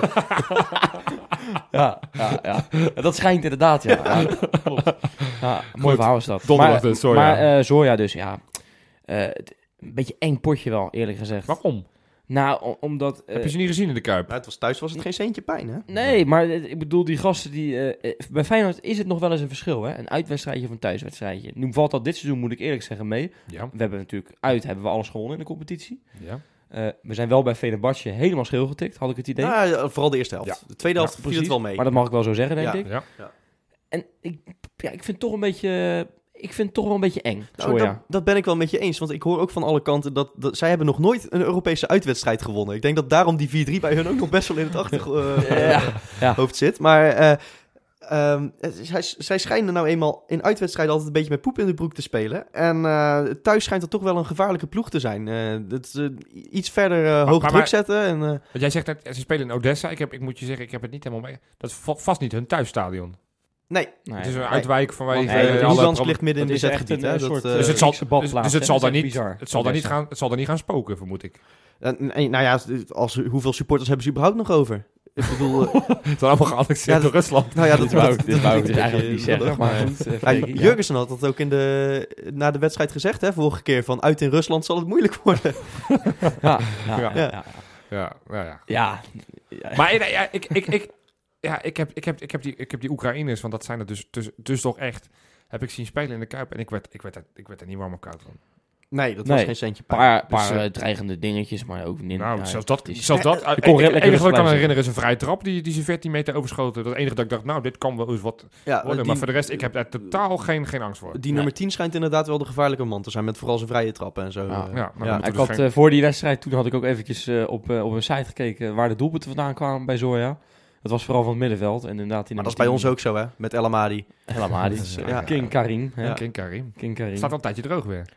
Speaker 4: ja, ja, ja. Dat schijnt inderdaad, ja. ja. Ja, mooi verhaal is dat.
Speaker 3: Donderdag
Speaker 4: maar,
Speaker 3: dus, Soja.
Speaker 4: Maar eh, Soja dus, ja. Eh, het- een beetje eng potje wel, eerlijk gezegd.
Speaker 3: Waarom?
Speaker 4: Nou, o- omdat... eh,
Speaker 3: Heb je ze niet gezien in de Kuip?
Speaker 2: Nou, het was, thuis was het geen centje pijn, hè?
Speaker 4: Nee, maar het- ik bedoel, die gasten die... eh, eh, bij Feyenoord is het nog wel eens een verschil, hè? Een uitwedstrijdje of een thuiswedstrijdje. Nu valt dat dit seizoen, moet ik eerlijk zeggen, mee.
Speaker 3: Ja,
Speaker 4: We hebben natuurlijk uit, hebben we alles gewonnen in de competitie.
Speaker 3: ja.
Speaker 4: Eh, we zijn wel bij Fenerbahce helemaal schil getikt, had ik het idee.
Speaker 2: Nou, ja, vooral de eerste helft. De tweede
Speaker 3: Ja,
Speaker 2: helft viel het
Speaker 4: precies.
Speaker 2: wel mee.
Speaker 4: Maar dat mag ik wel zo zeggen, denk
Speaker 2: Ja.
Speaker 4: ik.
Speaker 3: Ja.
Speaker 2: Ja.
Speaker 4: En ik, ja, ik vind het toch een beetje... Ik vind het toch wel een beetje eng,
Speaker 2: Nou,
Speaker 4: Soja.
Speaker 2: dat, dat ben ik wel met je eens. Want ik hoor ook van alle kanten dat, dat zij hebben nog nooit een Europese uitwedstrijd gewonnen. Ik denk dat daarom die 4-3 bij hun ook nog best wel in het eh, achterhoofd
Speaker 4: Ja. Ja.
Speaker 2: zit. Maar eh, ehm, het- zij, zij schijnen nou eenmaal in uitwedstrijden altijd een beetje met poep in de broek te spelen. En eh, thuis schijnt dat toch wel een gevaarlijke ploeg te zijn. Eh, dat ze iets verder eh, hoog
Speaker 3: maar-
Speaker 2: druk
Speaker 3: maar-
Speaker 2: zetten. En, eh,
Speaker 3: Want jij zegt net, ze spelen in Odessa. Ik, heb, ik moet je zeggen, ik heb het niet helemaal mee. Dat is va- vast niet hun thuisstadion.
Speaker 2: nee,
Speaker 4: Nee.
Speaker 3: Het is een uitwijk vanwege
Speaker 2: want
Speaker 4: Nee,
Speaker 2: eh,
Speaker 3: eh,
Speaker 4: dat
Speaker 3: alle
Speaker 2: Luzans
Speaker 3: proble-
Speaker 2: ligt midden in
Speaker 4: Dat
Speaker 2: het
Speaker 4: is echt
Speaker 2: bezetgebied.
Speaker 4: een,
Speaker 2: hè.
Speaker 4: eh,
Speaker 2: Dat,
Speaker 4: soort,
Speaker 2: eh,
Speaker 3: Dus het zal,
Speaker 4: Griekse
Speaker 3: dus,
Speaker 4: badplaats,
Speaker 3: dus
Speaker 4: hè?
Speaker 3: het zal
Speaker 4: Dat
Speaker 3: daar
Speaker 4: is
Speaker 3: niet,
Speaker 4: echt bizar,
Speaker 3: het zal daar niet
Speaker 4: Odessa.
Speaker 3: gaan, het zal daar niet gaan spoken, vermoed ik.
Speaker 2: en- en- nou ja, als, hoeveel supporters hebben ze überhaupt nog over? Ik bedoel, eh,
Speaker 3: Het zal allemaal geannexeerd
Speaker 2: Ja, dat-
Speaker 3: door Rusland.
Speaker 2: nou ja, dat,
Speaker 4: wou ik-
Speaker 2: dat-
Speaker 4: dit
Speaker 2: dat-
Speaker 4: wou ik
Speaker 2: dat-
Speaker 4: dus eigenlijk
Speaker 2: dat-
Speaker 4: niet
Speaker 2: dat-
Speaker 4: zeggen, maar goed. eh,
Speaker 2: Ja,
Speaker 4: Freek, ja.
Speaker 2: Jurgensen had dat ook in de, na de wedstrijd gezegd, hè, vorige keer. Van uit in Rusland zal het moeilijk worden.
Speaker 4: Ja, ja, ja,
Speaker 3: Ja.
Speaker 4: ja.
Speaker 3: Ja, nou ja.
Speaker 4: Ja,
Speaker 3: Maar eh, ja, ik, ik, ik, ja, ik, heb, ik, heb, ik, heb die, ik heb die Oekraïners, want dat zijn er dus, dus, dus toch echt, heb ik zien spelen in de Kuip. En ik werd, ik werd, er, ik werd er niet warm op koud van.
Speaker 2: Nee, dat
Speaker 4: Nee.
Speaker 2: was geen centje pijn.
Speaker 4: paar,
Speaker 3: Dus,
Speaker 4: paar
Speaker 3: eh,
Speaker 4: eh, dreigende dingetjes, maar ook niet.
Speaker 3: nou,
Speaker 4: ja,
Speaker 3: zelfs
Speaker 4: het
Speaker 3: dat...
Speaker 4: is-
Speaker 3: Zelfs dat
Speaker 4: kon redelijk
Speaker 3: het enige wat
Speaker 4: rustig
Speaker 3: ik kan
Speaker 4: blijven
Speaker 3: herinneren is een vrije trap die, die ze 14 meter overschoten. Dat enige dat ik dacht, nou, dit kan wel eens wat
Speaker 2: Ja, eh,
Speaker 3: worden.
Speaker 2: die,
Speaker 3: maar voor de rest, ik heb daar totaal geen, geen angst voor.
Speaker 2: die nummer 10 schijnt inderdaad wel de gevaarlijke man te zijn. Met vooral zijn vrije trappen en zo.
Speaker 4: Ja.
Speaker 2: eh.
Speaker 3: ja, nou, dan
Speaker 2: ja.
Speaker 3: moeten
Speaker 4: ik
Speaker 3: we
Speaker 4: had
Speaker 3: dus geen-
Speaker 4: eh, voor die wedstrijd, toen had ik ook eventjes eh, op, eh, op een site gekeken waar de doelpunten vandaan kwamen bij Zoya. Dat was vooral van het middenveld. En inderdaad, die
Speaker 2: Maar dat is bij
Speaker 4: nummer
Speaker 2: ons ook zo, hè? Met El Amadi.
Speaker 4: 10, Helemaal niet.
Speaker 3: Ja.
Speaker 2: ja.
Speaker 4: King Karim. hè.
Speaker 2: Ja.
Speaker 3: King Karim.
Speaker 4: King Karim.
Speaker 3: Staat al een tijdje droog weer.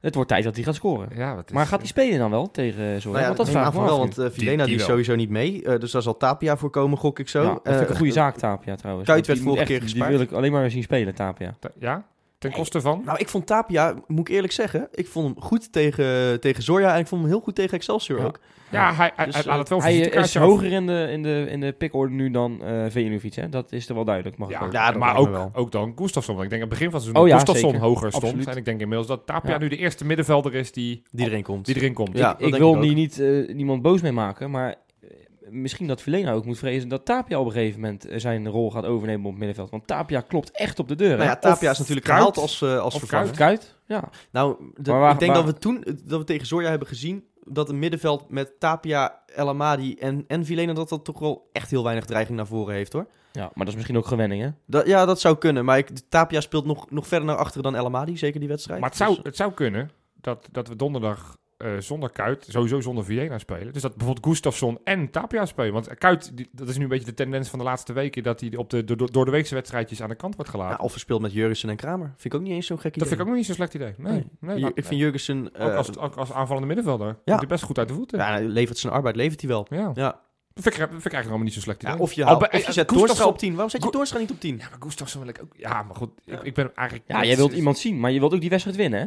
Speaker 4: Het wordt tijd dat hij gaat scoren.
Speaker 3: Ja, wat is,
Speaker 4: Maar gaat hij spelen dan wel tegen eh, Zoya?
Speaker 2: Nou ja,
Speaker 4: want dat
Speaker 2: neem
Speaker 4: vraag
Speaker 2: aan
Speaker 4: ik me
Speaker 2: van
Speaker 4: af
Speaker 2: wel,
Speaker 4: nu.
Speaker 2: want eh,
Speaker 3: Die-
Speaker 2: Vilena
Speaker 3: die
Speaker 2: die, is
Speaker 3: wel.
Speaker 2: sowieso niet mee. Eh, dus daar zal Tapia voor komen, gok ik zo.
Speaker 4: Ja, dat vind ik
Speaker 2: Eh,
Speaker 4: een goede zaak, Tapia trouwens.
Speaker 2: Kuyt
Speaker 4: Want die
Speaker 2: werd
Speaker 4: moet
Speaker 2: vorige
Speaker 4: echt-
Speaker 2: keer
Speaker 4: Die
Speaker 2: gespaard.
Speaker 4: wil ik alleen maar weer zien spelen, Tapia.
Speaker 3: Ja? Ten koste van?
Speaker 2: Nou, ik vond Tapia, moet ik eerlijk zeggen, ik vond hem goed tegen, tegen Zorja en ik vond hem heel goed tegen Excelsior
Speaker 4: Ja.
Speaker 2: ook.
Speaker 3: Ja, hij, hij,
Speaker 2: Dus,
Speaker 3: hij
Speaker 2: eh,
Speaker 3: laat het wel
Speaker 4: Hij
Speaker 3: voor
Speaker 4: eh, is hoger in de, in de, in de pickorde nu dan eh Veljinovic, hè? Dat is er wel duidelijk, mag ik
Speaker 3: Ja,
Speaker 4: ook.
Speaker 2: Ja, dat
Speaker 3: maar
Speaker 2: lijkt
Speaker 3: ook,
Speaker 2: me wel.
Speaker 3: ook dan Gustafsson. Want Ik denk aan het begin van het seizoen
Speaker 4: Oh ja,
Speaker 3: dat Gustafsson
Speaker 4: zeker.
Speaker 3: hoger stond.
Speaker 4: Absoluut.
Speaker 3: En ik denk inmiddels dat Tapia
Speaker 4: Ja.
Speaker 3: nu de eerste middenvelder is die,
Speaker 2: Die erin komt.
Speaker 3: die erin komt.
Speaker 2: Ja, dat
Speaker 4: ik
Speaker 2: denk
Speaker 4: wil
Speaker 2: ook.
Speaker 4: hier niet, eh, niemand boos mee maken, maar eh, misschien dat Verlena ook moet vrezen dat Tapia op een gegeven moment eh, zijn rol gaat overnemen op het middenveld. Want Tapia klopt echt op de deur.
Speaker 2: Nou ja, Tapia is natuurlijk
Speaker 3: Kuyt.
Speaker 2: gehaald als, eh, als
Speaker 3: Of
Speaker 2: vervanger.
Speaker 3: Kuyt.
Speaker 4: Kuit, ja.
Speaker 2: Nou, de-
Speaker 4: Maar waar-
Speaker 2: ik denk
Speaker 4: waar-
Speaker 2: dat we toen dat we tegen Zorja hebben gezien dat het middenveld met Tapia, El Amadi en, en Vilena dat dat toch wel echt heel weinig dreiging naar voren heeft hoor.
Speaker 4: ja. Maar dat is misschien ook gewenning, hè?
Speaker 2: Dat, ja, dat zou kunnen, maar ik, Tapia speelt nog, nog verder naar achteren dan El Amadi, zeker die wedstrijd.
Speaker 3: Maar het zou,
Speaker 2: Dus,
Speaker 3: het zou kunnen dat, dat we donderdag eh, zonder Kuit, sowieso zonder Viena spelen. Dus dat bijvoorbeeld Gustafsson en Tapia spelen. Want Kuit, die- dat is nu een beetje de tendens van de laatste weken, dat hij op de, door- door de weekse wedstrijdjes aan de kant wordt gelaten.
Speaker 2: nou, of speelt met Jurgensen en Kramer. Vind ik ook niet eens zo'n gek
Speaker 3: dat
Speaker 2: idee.
Speaker 3: vind ik ook nog niet zo'n slecht idee. Nee,
Speaker 2: Nee.
Speaker 3: nee,
Speaker 2: Ju-
Speaker 3: laat-
Speaker 2: ik vind Jurgensen
Speaker 3: ook,
Speaker 2: eh,
Speaker 3: als, ook als aanvallende middenvelder. Komt hij best goed uit de voeten. Ja.
Speaker 2: ja, nou, levert zijn arbeid, levert hij wel. Ja.
Speaker 3: Dat vind ik, dat vind ik eigenlijk helemaal niet zo'n slecht idee.
Speaker 2: Ja, of, je
Speaker 3: Al
Speaker 2: haalt-
Speaker 3: bij-
Speaker 2: of je
Speaker 3: eh,
Speaker 2: zet
Speaker 3: Gustafsson-
Speaker 2: Toornstra op 10. Waarom zet je
Speaker 3: Go-
Speaker 2: Toornstra niet op 10?
Speaker 3: Ja, maar Gustafsson wil ik ook... Ja, maar goed, ik, ik ben hem eigenlijk...
Speaker 4: Ja, jij wilt iemand zien, maar je wilt ook die wedstrijd winnen, hè?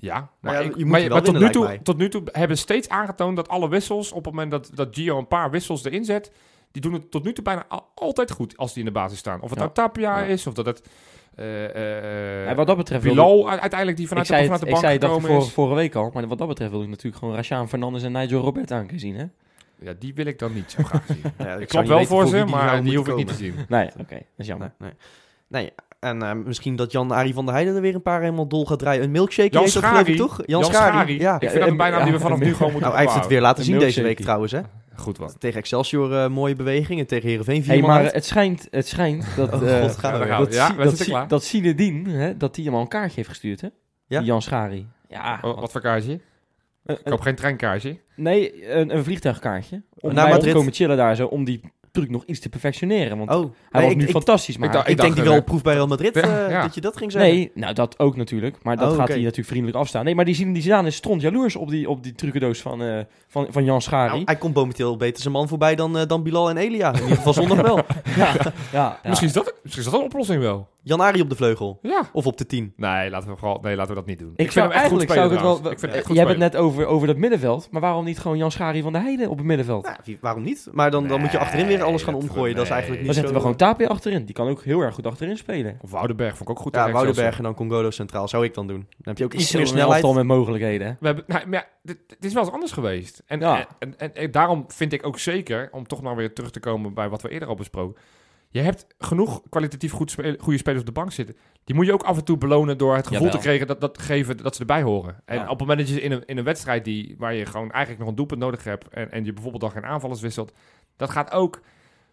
Speaker 3: Ja, maar,
Speaker 2: Nou ja,
Speaker 3: ik-
Speaker 2: je moet
Speaker 3: maar,
Speaker 2: je wel
Speaker 3: maar
Speaker 2: winnen,
Speaker 3: tot, nu
Speaker 2: lijkt
Speaker 3: toe,
Speaker 2: mij.
Speaker 3: tot nu toe hebben ze steeds aangetoond dat alle wissels, op het moment dat, dat Gio een paar wissels erin zet, die doen het tot nu toe bijna al- altijd goed als die in de basis staan. Of het
Speaker 4: Ja.
Speaker 3: nou Tapia
Speaker 4: Ja.
Speaker 3: is, of dat het eh, eh,
Speaker 4: En wat dat betreft... wil ik-
Speaker 3: Bilal u- uiteindelijk die
Speaker 4: ik
Speaker 3: vanuit, de,
Speaker 4: zei,
Speaker 3: vanuit
Speaker 4: het,
Speaker 3: de
Speaker 4: ik
Speaker 3: bank
Speaker 4: zei het dacht ik
Speaker 3: gekomen
Speaker 4: vorige,
Speaker 3: is.
Speaker 4: vorige week al, maar wat dat betreft wil ik natuurlijk gewoon Rashaan Fernandes en Nigel Robert aan kunnen zien, hè?
Speaker 3: Ja, die wil ik dan niet zo graag zien.
Speaker 2: Ja,
Speaker 3: ik
Speaker 2: zou
Speaker 3: klap
Speaker 2: niet
Speaker 3: wel
Speaker 2: weten
Speaker 3: voor
Speaker 2: wie
Speaker 3: ze,
Speaker 2: nou
Speaker 3: maar die
Speaker 2: moet
Speaker 3: hoef ik niet te
Speaker 2: komen.
Speaker 3: zien.
Speaker 4: Nee, Nou oké, dat is jammer.
Speaker 2: Nee, nee. nee. En eh, misschien dat Jan-Arie van der Heijden er weer een paar helemaal dol gaat draaien. Een milkshake
Speaker 3: Jan
Speaker 2: heet dat geloof ik
Speaker 3: Schari.
Speaker 2: toch?
Speaker 3: Jan Schari.
Speaker 2: ja.
Speaker 3: Ik vind dat een
Speaker 4: en-
Speaker 3: bijnaam die we
Speaker 4: ja,
Speaker 3: vanaf
Speaker 4: en-
Speaker 3: nu gewoon moeten
Speaker 2: Nou, hij heeft het weer laten zien
Speaker 4: Een
Speaker 2: deze week
Speaker 4: milkshake.
Speaker 2: trouwens. Hè?
Speaker 3: Goed wat.
Speaker 2: Tegen Excelsior eh, mooie beweging en tegen Heerenveen vier
Speaker 4: Hey,
Speaker 2: man
Speaker 4: maar eh,
Speaker 2: uit.
Speaker 4: het schijnt, het schijnt dat,
Speaker 2: Oh,
Speaker 4: eh,
Speaker 2: God, gaan we
Speaker 3: Ja,
Speaker 2: weer.
Speaker 3: daar gaan we.
Speaker 4: dat,
Speaker 3: Ja,
Speaker 4: Zi-
Speaker 3: we
Speaker 4: dat,
Speaker 3: zitten
Speaker 4: Zi-
Speaker 3: klaar.
Speaker 4: dat Zinedine, hè, dat die hem al een kaartje heeft gestuurd, hè?
Speaker 2: Ja?
Speaker 4: Die Jan Schari. Ja,
Speaker 3: Oh, Wat voor kaartje?
Speaker 4: een-
Speaker 3: Ik
Speaker 4: een-
Speaker 3: koop geen treinkaartje.
Speaker 4: nee, een, een vliegtuigkaartje.
Speaker 2: Naar
Speaker 4: Om bij hem te
Speaker 2: Madrid.
Speaker 4: komen chillen daar zo, om die truc nog iets te perfectioneren. Want
Speaker 2: Oh,
Speaker 4: hij
Speaker 2: nee,
Speaker 4: was nu
Speaker 2: ik, ik,
Speaker 4: fantastisch, maar...
Speaker 3: ik dacht-
Speaker 2: ik denk die
Speaker 3: eh,
Speaker 2: wel op proef bij Real Madrid
Speaker 3: Ja,
Speaker 2: eh,
Speaker 3: ja.
Speaker 2: dat je dat ging zeggen.
Speaker 4: Nee, nou dat ook natuurlijk. Maar dat
Speaker 2: Oh,
Speaker 4: gaat
Speaker 2: oké.
Speaker 4: hij natuurlijk vriendelijk afstaan. Nee, maar die Zinedine Zidane is stront jaloers op die, op die trucendoos van, eh, van, van Jan Schari.
Speaker 2: Nou, hij komt momenteel beter zijn man voorbij dan, eh, dan Bilal en Elia. In ieder geval zondag wel.
Speaker 4: ja, ja, ja.
Speaker 3: Misschien is dat misschien is dat een oplossing wel.
Speaker 2: Janari op de vleugel.
Speaker 3: Ja.
Speaker 2: Of op de 10.
Speaker 3: Nee, laten we, vooral, nee, laten we dat niet doen.
Speaker 4: Ik zou
Speaker 3: hem echt goed
Speaker 4: eigenlijk zou ik het
Speaker 3: spelen
Speaker 4: wel. Eh,
Speaker 3: trouwens. Ik vind hem echt goed
Speaker 4: Jij hebt het
Speaker 3: spelen.
Speaker 4: net over, over dat middenveld, maar waarom niet gewoon Jan Schari van de Heide op het middenveld?
Speaker 2: Nou, wie- waarom niet? Maar dan, dan moet je achterin weer alles gaan
Speaker 3: Nee, dat-
Speaker 2: omgooien. Dat is
Speaker 3: nee.
Speaker 2: eigenlijk
Speaker 4: Dan
Speaker 2: niet
Speaker 4: zetten we
Speaker 2: zo...
Speaker 4: gewoon Tapia achterin. Die kan ook heel erg goed achterin spelen.
Speaker 3: Of Woudenberg vond ik ook goed.
Speaker 2: Ja,
Speaker 3: tegen Excelsior.
Speaker 2: Woudenberg en dan Congolo centraal zou ik dan doen. Dan heb je ook iets
Speaker 4: Zo'n
Speaker 2: meer snelheid.
Speaker 4: elftal met mogelijkheden. hè?
Speaker 3: We hebben, nou, maar ja, dit, dit is wel eens anders geweest. En,
Speaker 4: Ja.
Speaker 3: en, en, en daarom vind ik ook zeker, om toch maar weer terug te komen bij wat we eerder al besproken. Je hebt genoeg kwalitatief goed spel- goede spelers op de bank zitten. Die moet je ook af en toe belonen door het gevoel
Speaker 4: Jawel.
Speaker 3: te krijgen dat, dat, geven dat ze erbij horen. En
Speaker 4: Ja.
Speaker 3: op het moment dat je in een, in een wedstrijd die, waar je gewoon eigenlijk nog een doelpunt nodig hebt. En, en je bijvoorbeeld dan geen aanvallers wisselt. Dat gaat ook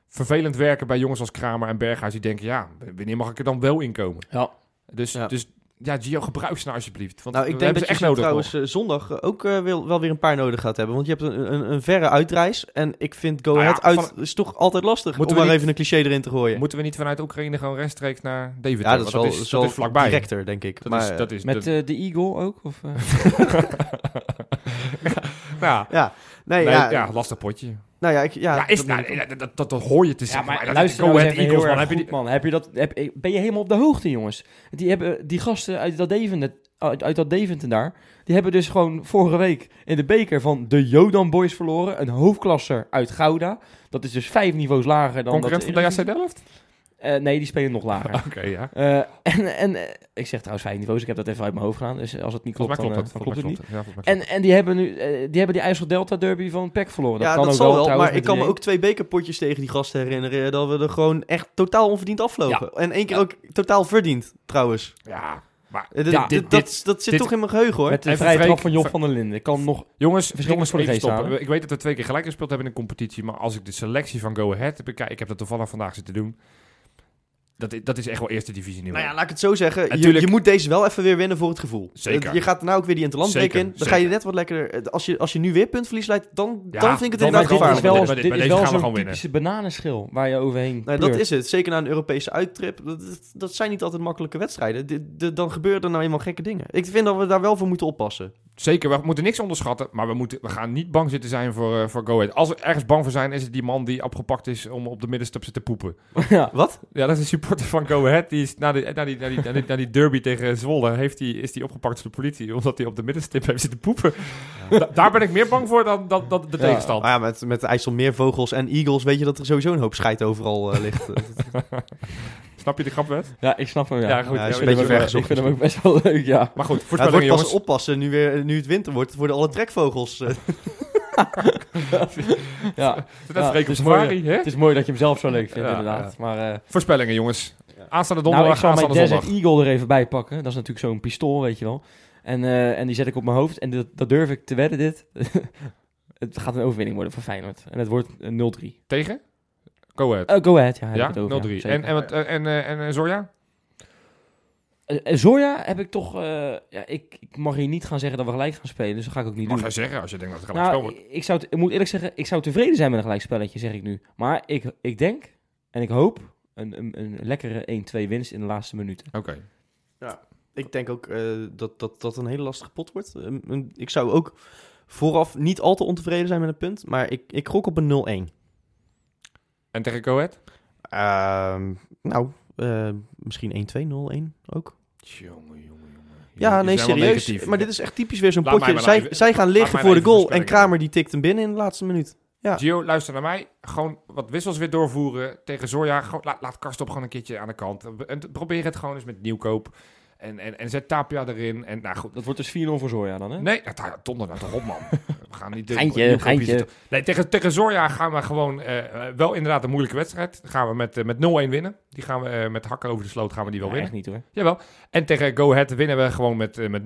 Speaker 3: vervelend werken bij jongens als Kramer en Berghuis. Die denken, ja, w- wanneer mag ik er dan wel in komen?
Speaker 4: Ja.
Speaker 3: Dus ja,
Speaker 2: Ja.
Speaker 3: dus, ja Gio, gebruik ze nou alsjeblieft. Want
Speaker 2: Nou,
Speaker 3: we
Speaker 2: ik denk
Speaker 3: hebben
Speaker 2: dat
Speaker 3: ze
Speaker 2: je
Speaker 3: echt
Speaker 2: zo
Speaker 3: nodig.
Speaker 2: trouwens eh, zondag eh, ook eh, wel, wel weer een paar nodig gaat hebben. Want je hebt een, een, een verre uitreis. En ik vind Go
Speaker 3: Nou ja,
Speaker 2: Ahead uit is toch altijd lastig.
Speaker 3: Moeten
Speaker 2: om
Speaker 3: we
Speaker 2: maar
Speaker 3: niet-
Speaker 2: even een cliché erin te gooien.
Speaker 3: Moeten we niet vanuit Oekraïne gewoon rechtstreeks naar David?
Speaker 2: ja, dat is wel,
Speaker 3: dat is,
Speaker 2: is wel
Speaker 3: dat is vlakbij.
Speaker 2: directer, denk ik.
Speaker 3: Dat
Speaker 2: maar,
Speaker 3: is, dat is
Speaker 4: Met
Speaker 3: dat-
Speaker 4: eh, de Eagle ook? Of, eh?
Speaker 3: ja,
Speaker 2: ja. eh, Nee,
Speaker 3: nee,
Speaker 2: ja,
Speaker 3: ja, lastig potje.
Speaker 2: Nou ja, ik, ja,
Speaker 3: Ja, is,
Speaker 2: dat-
Speaker 3: nou, nee, dat, dat, dat, dat hoor je te
Speaker 4: Ja,
Speaker 3: zeggen.
Speaker 4: maar
Speaker 3: dat-
Speaker 4: luister
Speaker 3: Go
Speaker 4: nou eens
Speaker 3: Ahead
Speaker 4: even heel erg
Speaker 3: heb je
Speaker 4: goed,
Speaker 3: die-
Speaker 4: man. Heb je dat, heb, eh, ben je helemaal op de hoogte, jongens? Die, hebben, die gasten uit dat, Deventer, uit, uit dat Deventer daar... die hebben dus gewoon vorige week in de beker van de Jodan Boys verloren. Een hoofdklasser uit Gouda. Dat is dus vijf niveaus lager dan...
Speaker 3: concurrent
Speaker 4: dat
Speaker 3: van DHC Delft?
Speaker 4: Eh, nee, die spelen nog lager.
Speaker 3: Oké, ja.
Speaker 4: Eh, en en eh, ik zeg trouwens vijf niveaus. Ik heb dat even uit mijn hoofd gedaan. Dus als het niet klopt,
Speaker 3: Volgens mij
Speaker 4: dan,
Speaker 3: klopt
Speaker 4: eh,
Speaker 3: dat.
Speaker 4: dan klopt het niet.
Speaker 3: Ja, volgens mij klopt
Speaker 4: En, en die hebben nu eh, die hebben die IJssel Delta Derby van PEC verloren. Dat
Speaker 2: ja,
Speaker 4: kan
Speaker 2: dat
Speaker 4: ook
Speaker 2: zal
Speaker 4: wel,
Speaker 2: wel.
Speaker 4: trouwens,
Speaker 2: Maar ik
Speaker 4: met
Speaker 2: kan me
Speaker 4: 3-1.
Speaker 2: ook twee bekerpotjes tegen die gasten herinneren. Dat we er gewoon echt totaal onverdiend afvlogen. En één keer
Speaker 4: Ja.
Speaker 2: ook totaal verdiend, trouwens.
Speaker 3: het. Ja, maar...
Speaker 2: Eh, d-
Speaker 4: Ja,
Speaker 2: d-
Speaker 4: dit-
Speaker 2: dat, dat zit
Speaker 3: dit-
Speaker 2: toch in mijn geheugen, hoor.
Speaker 4: Met de
Speaker 3: Even
Speaker 4: vrije trap
Speaker 3: Freek-
Speaker 4: van Job van der Linden. Kan nog
Speaker 3: Jongens,
Speaker 4: Verschrikkelijk
Speaker 3: jongens
Speaker 4: voor de
Speaker 3: even
Speaker 4: geest
Speaker 3: stoppen.
Speaker 4: halen.
Speaker 3: Ik weet dat we twee keer gelijk gespeeld hebben in de competitie. Maar als ik de selectie van Go Ahead bekijk... Ik heb dat toevallig vandaag zitten doen. Dat is, dat is echt wel eerste divisie niveau.
Speaker 2: Nou ja, laat ik het zo zeggen. Je,
Speaker 3: Natuurlijk.
Speaker 2: je moet deze wel even weer winnen voor het gevoel.
Speaker 3: Zeker.
Speaker 2: Je gaat nou ook weer die interlandbreek
Speaker 3: Zeker,
Speaker 2: in. Dan ga
Speaker 3: zeker.
Speaker 2: je net wat lekkerder. Als je, als je nu weer puntverlies leidt, dan,
Speaker 3: Ja,
Speaker 2: dan vind ik het
Speaker 3: dan
Speaker 2: inderdaad
Speaker 3: ben ik
Speaker 4: dit
Speaker 3: wel
Speaker 4: is
Speaker 2: gevaarlijk.
Speaker 3: gevaarlijk.
Speaker 4: wel,
Speaker 3: Bij
Speaker 4: dit,
Speaker 3: deze
Speaker 4: is
Speaker 3: gaan
Speaker 4: wel
Speaker 3: we
Speaker 4: zo'n
Speaker 3: gewoon winnen.
Speaker 4: typische bananenschil waar je overheen
Speaker 2: Nee, dat
Speaker 4: pleurt.
Speaker 2: is het. Zeker na een Europese uittrip. Dat, dat- dat zijn niet altijd makkelijke wedstrijden. Dit- dit- dan gebeuren er nou eenmaal gekke dingen. Ik vind dat we daar wel voor moeten oppassen.
Speaker 3: Zeker, we moeten niks onderschatten, maar we, moeten, we gaan niet bang zitten zijn voor, eh, voor Go Ahead. Als we ergens bang voor zijn, is het die man die opgepakt is om op de middenstip te poepen.
Speaker 4: ja.
Speaker 2: Wat?
Speaker 3: Ja, dat is een supporter van Go Ahead. Die is na die, na die, na die, na die, na die derby tegen Zwolle heeft die, is die opgepakt door de politie, omdat hij op de middenstip heeft zitten poepen. Da- daar ben ik meer bang voor dan, dan, dan de
Speaker 4: Ja.
Speaker 3: tegenstand.
Speaker 2: Nou ja, met, met IJsselmeervogels en Eagles weet je dat er sowieso een hoop scheid overal eh, ligt.
Speaker 3: Snap je de grap, Wes?
Speaker 4: ja, ik snap hem. Ja.
Speaker 3: goed.
Speaker 2: Ja, is
Speaker 3: ik
Speaker 2: een
Speaker 3: vind
Speaker 2: beetje
Speaker 3: hem ook-
Speaker 2: vergezocht.
Speaker 4: ik vind hem ook best wel leuk, ja.
Speaker 3: Maar goed,
Speaker 2: Ja, het
Speaker 3: voorspellingen,
Speaker 2: wordt pas
Speaker 3: jongens.
Speaker 2: oppassen nu, weer, nu het winter wordt. Worden alle trekvogels. eh.
Speaker 4: ja.
Speaker 3: Net
Speaker 4: Ja,
Speaker 3: als Freek
Speaker 4: het is
Speaker 3: op safari, hè?
Speaker 4: Het is mooi dat je hem zelf zo leuk vindt,
Speaker 3: Ja,
Speaker 4: inderdaad. Maar, eh,
Speaker 3: Voorspellingen, jongens. Aanstaande
Speaker 4: nou, ik
Speaker 3: donderdag,
Speaker 4: zal mijn
Speaker 3: aanstaande zondag.
Speaker 4: Desert Eagle er even bij pakken. Dat is natuurlijk zo'n pistool, weet je wel. En, eh, en die zet ik op mijn hoofd. En dat, dat durf ik te wedden, dit. het gaat een overwinning worden voor Feyenoord. En het wordt een 0-3.
Speaker 3: Tegen? Go Ahead.
Speaker 4: Eh, go ahead, ja. daar
Speaker 3: ja,
Speaker 4: heb ik het
Speaker 3: 0-3.
Speaker 4: over, ja,
Speaker 3: en,
Speaker 4: zeker.
Speaker 3: en, wat- eh, en, eh, en, eh, Zorja?
Speaker 4: Eh, eh, Zoya heb ik toch... eh, ja, ik, ik mag hier niet gaan zeggen dat we gelijk gaan spelen. Dus dat ga ik ook niet
Speaker 3: Mag
Speaker 4: doen.
Speaker 3: jij zeggen, als je denkt dat het gelijk spel
Speaker 4: Nou,
Speaker 3: wordt.
Speaker 4: ik, ik zou, t- ik moet eerlijk zeggen, ik zou tevreden zijn met een gelijkspelletje, zeg ik nu. Maar ik, ik denk en ik hoop een, een, een lekkere 1-2 winst in de laatste minuten.
Speaker 3: Oké.
Speaker 2: Ik denk ook eh, dat, dat dat een hele lastige pot wordt. Ehm, een- ik zou ook vooraf niet al te ontevreden zijn met een punt. Maar ik, ik gok op een 0-1.
Speaker 3: En tegen Go Ahead?
Speaker 2: Ehm, nou, eh, misschien 1-2-0-1 ook.
Speaker 3: Jongen, jongen, jongen.
Speaker 2: Ja, nee, serieus. Maar dit is echt typisch weer zo'n
Speaker 3: Laat
Speaker 2: potje.
Speaker 3: mij maar
Speaker 2: Zij,
Speaker 3: even-
Speaker 2: zij gaan
Speaker 3: laat
Speaker 2: liggen
Speaker 3: mij
Speaker 2: voor de
Speaker 3: even
Speaker 2: goal. En
Speaker 3: voorspellingen
Speaker 2: Kramer die tikt hem binnen in de laatste minuut. Ja.
Speaker 3: Gio, luister naar mij. Gewoon wat wissels weer doorvoeren. Tegen Zorja, gewoon, laat, laat Karstop gewoon een keertje aan de kant. En probeer het gewoon eens met nieuwkoop. En, en, en zet Tapia erin. En nou goed.
Speaker 4: Dat wordt dus 4-0 voor Zoya dan, hè?
Speaker 3: Nee, ja, daar- donder nou toch op, man. We gaan niet... de-
Speaker 4: Geintje,
Speaker 3: Nieuwkoop hier
Speaker 4: geintje.
Speaker 3: zitten. Nee, tegen, tegen Zorja gaan we gewoon... eh, eh, wel inderdaad een moeilijke wedstrijd. Dan gaan we met, eh, met 0-1 winnen. Die gaan we eh, met hakken over de sloot gaan we die wel
Speaker 4: Ja,
Speaker 3: winnen.
Speaker 4: echt niet hoor.
Speaker 3: Jawel. En tegen Go Ahead winnen we gewoon met, eh, met 0-3.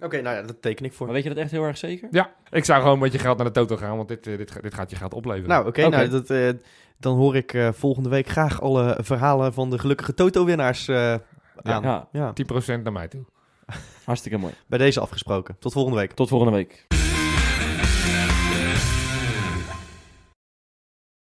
Speaker 2: Oké, nou ja, dat teken ik voor.
Speaker 4: Maar weet je dat echt heel erg zeker?
Speaker 3: Ja, ik zou gewoon met je geld naar de toto gaan, want dit, eh, dit, ga- dit gaat je geld opleveren.
Speaker 2: Nou, oké.
Speaker 4: Oké.
Speaker 2: nou, dat, eh, dan hoor ik eh, volgende week graag alle verhalen van de gelukkige Toto-winnaars eh, aan. Ja.
Speaker 4: Ja,
Speaker 3: 10% naar mij toe.
Speaker 4: hartstikke mooi.
Speaker 2: bij deze afgesproken. Tot volgende week.
Speaker 4: Tot volgende week.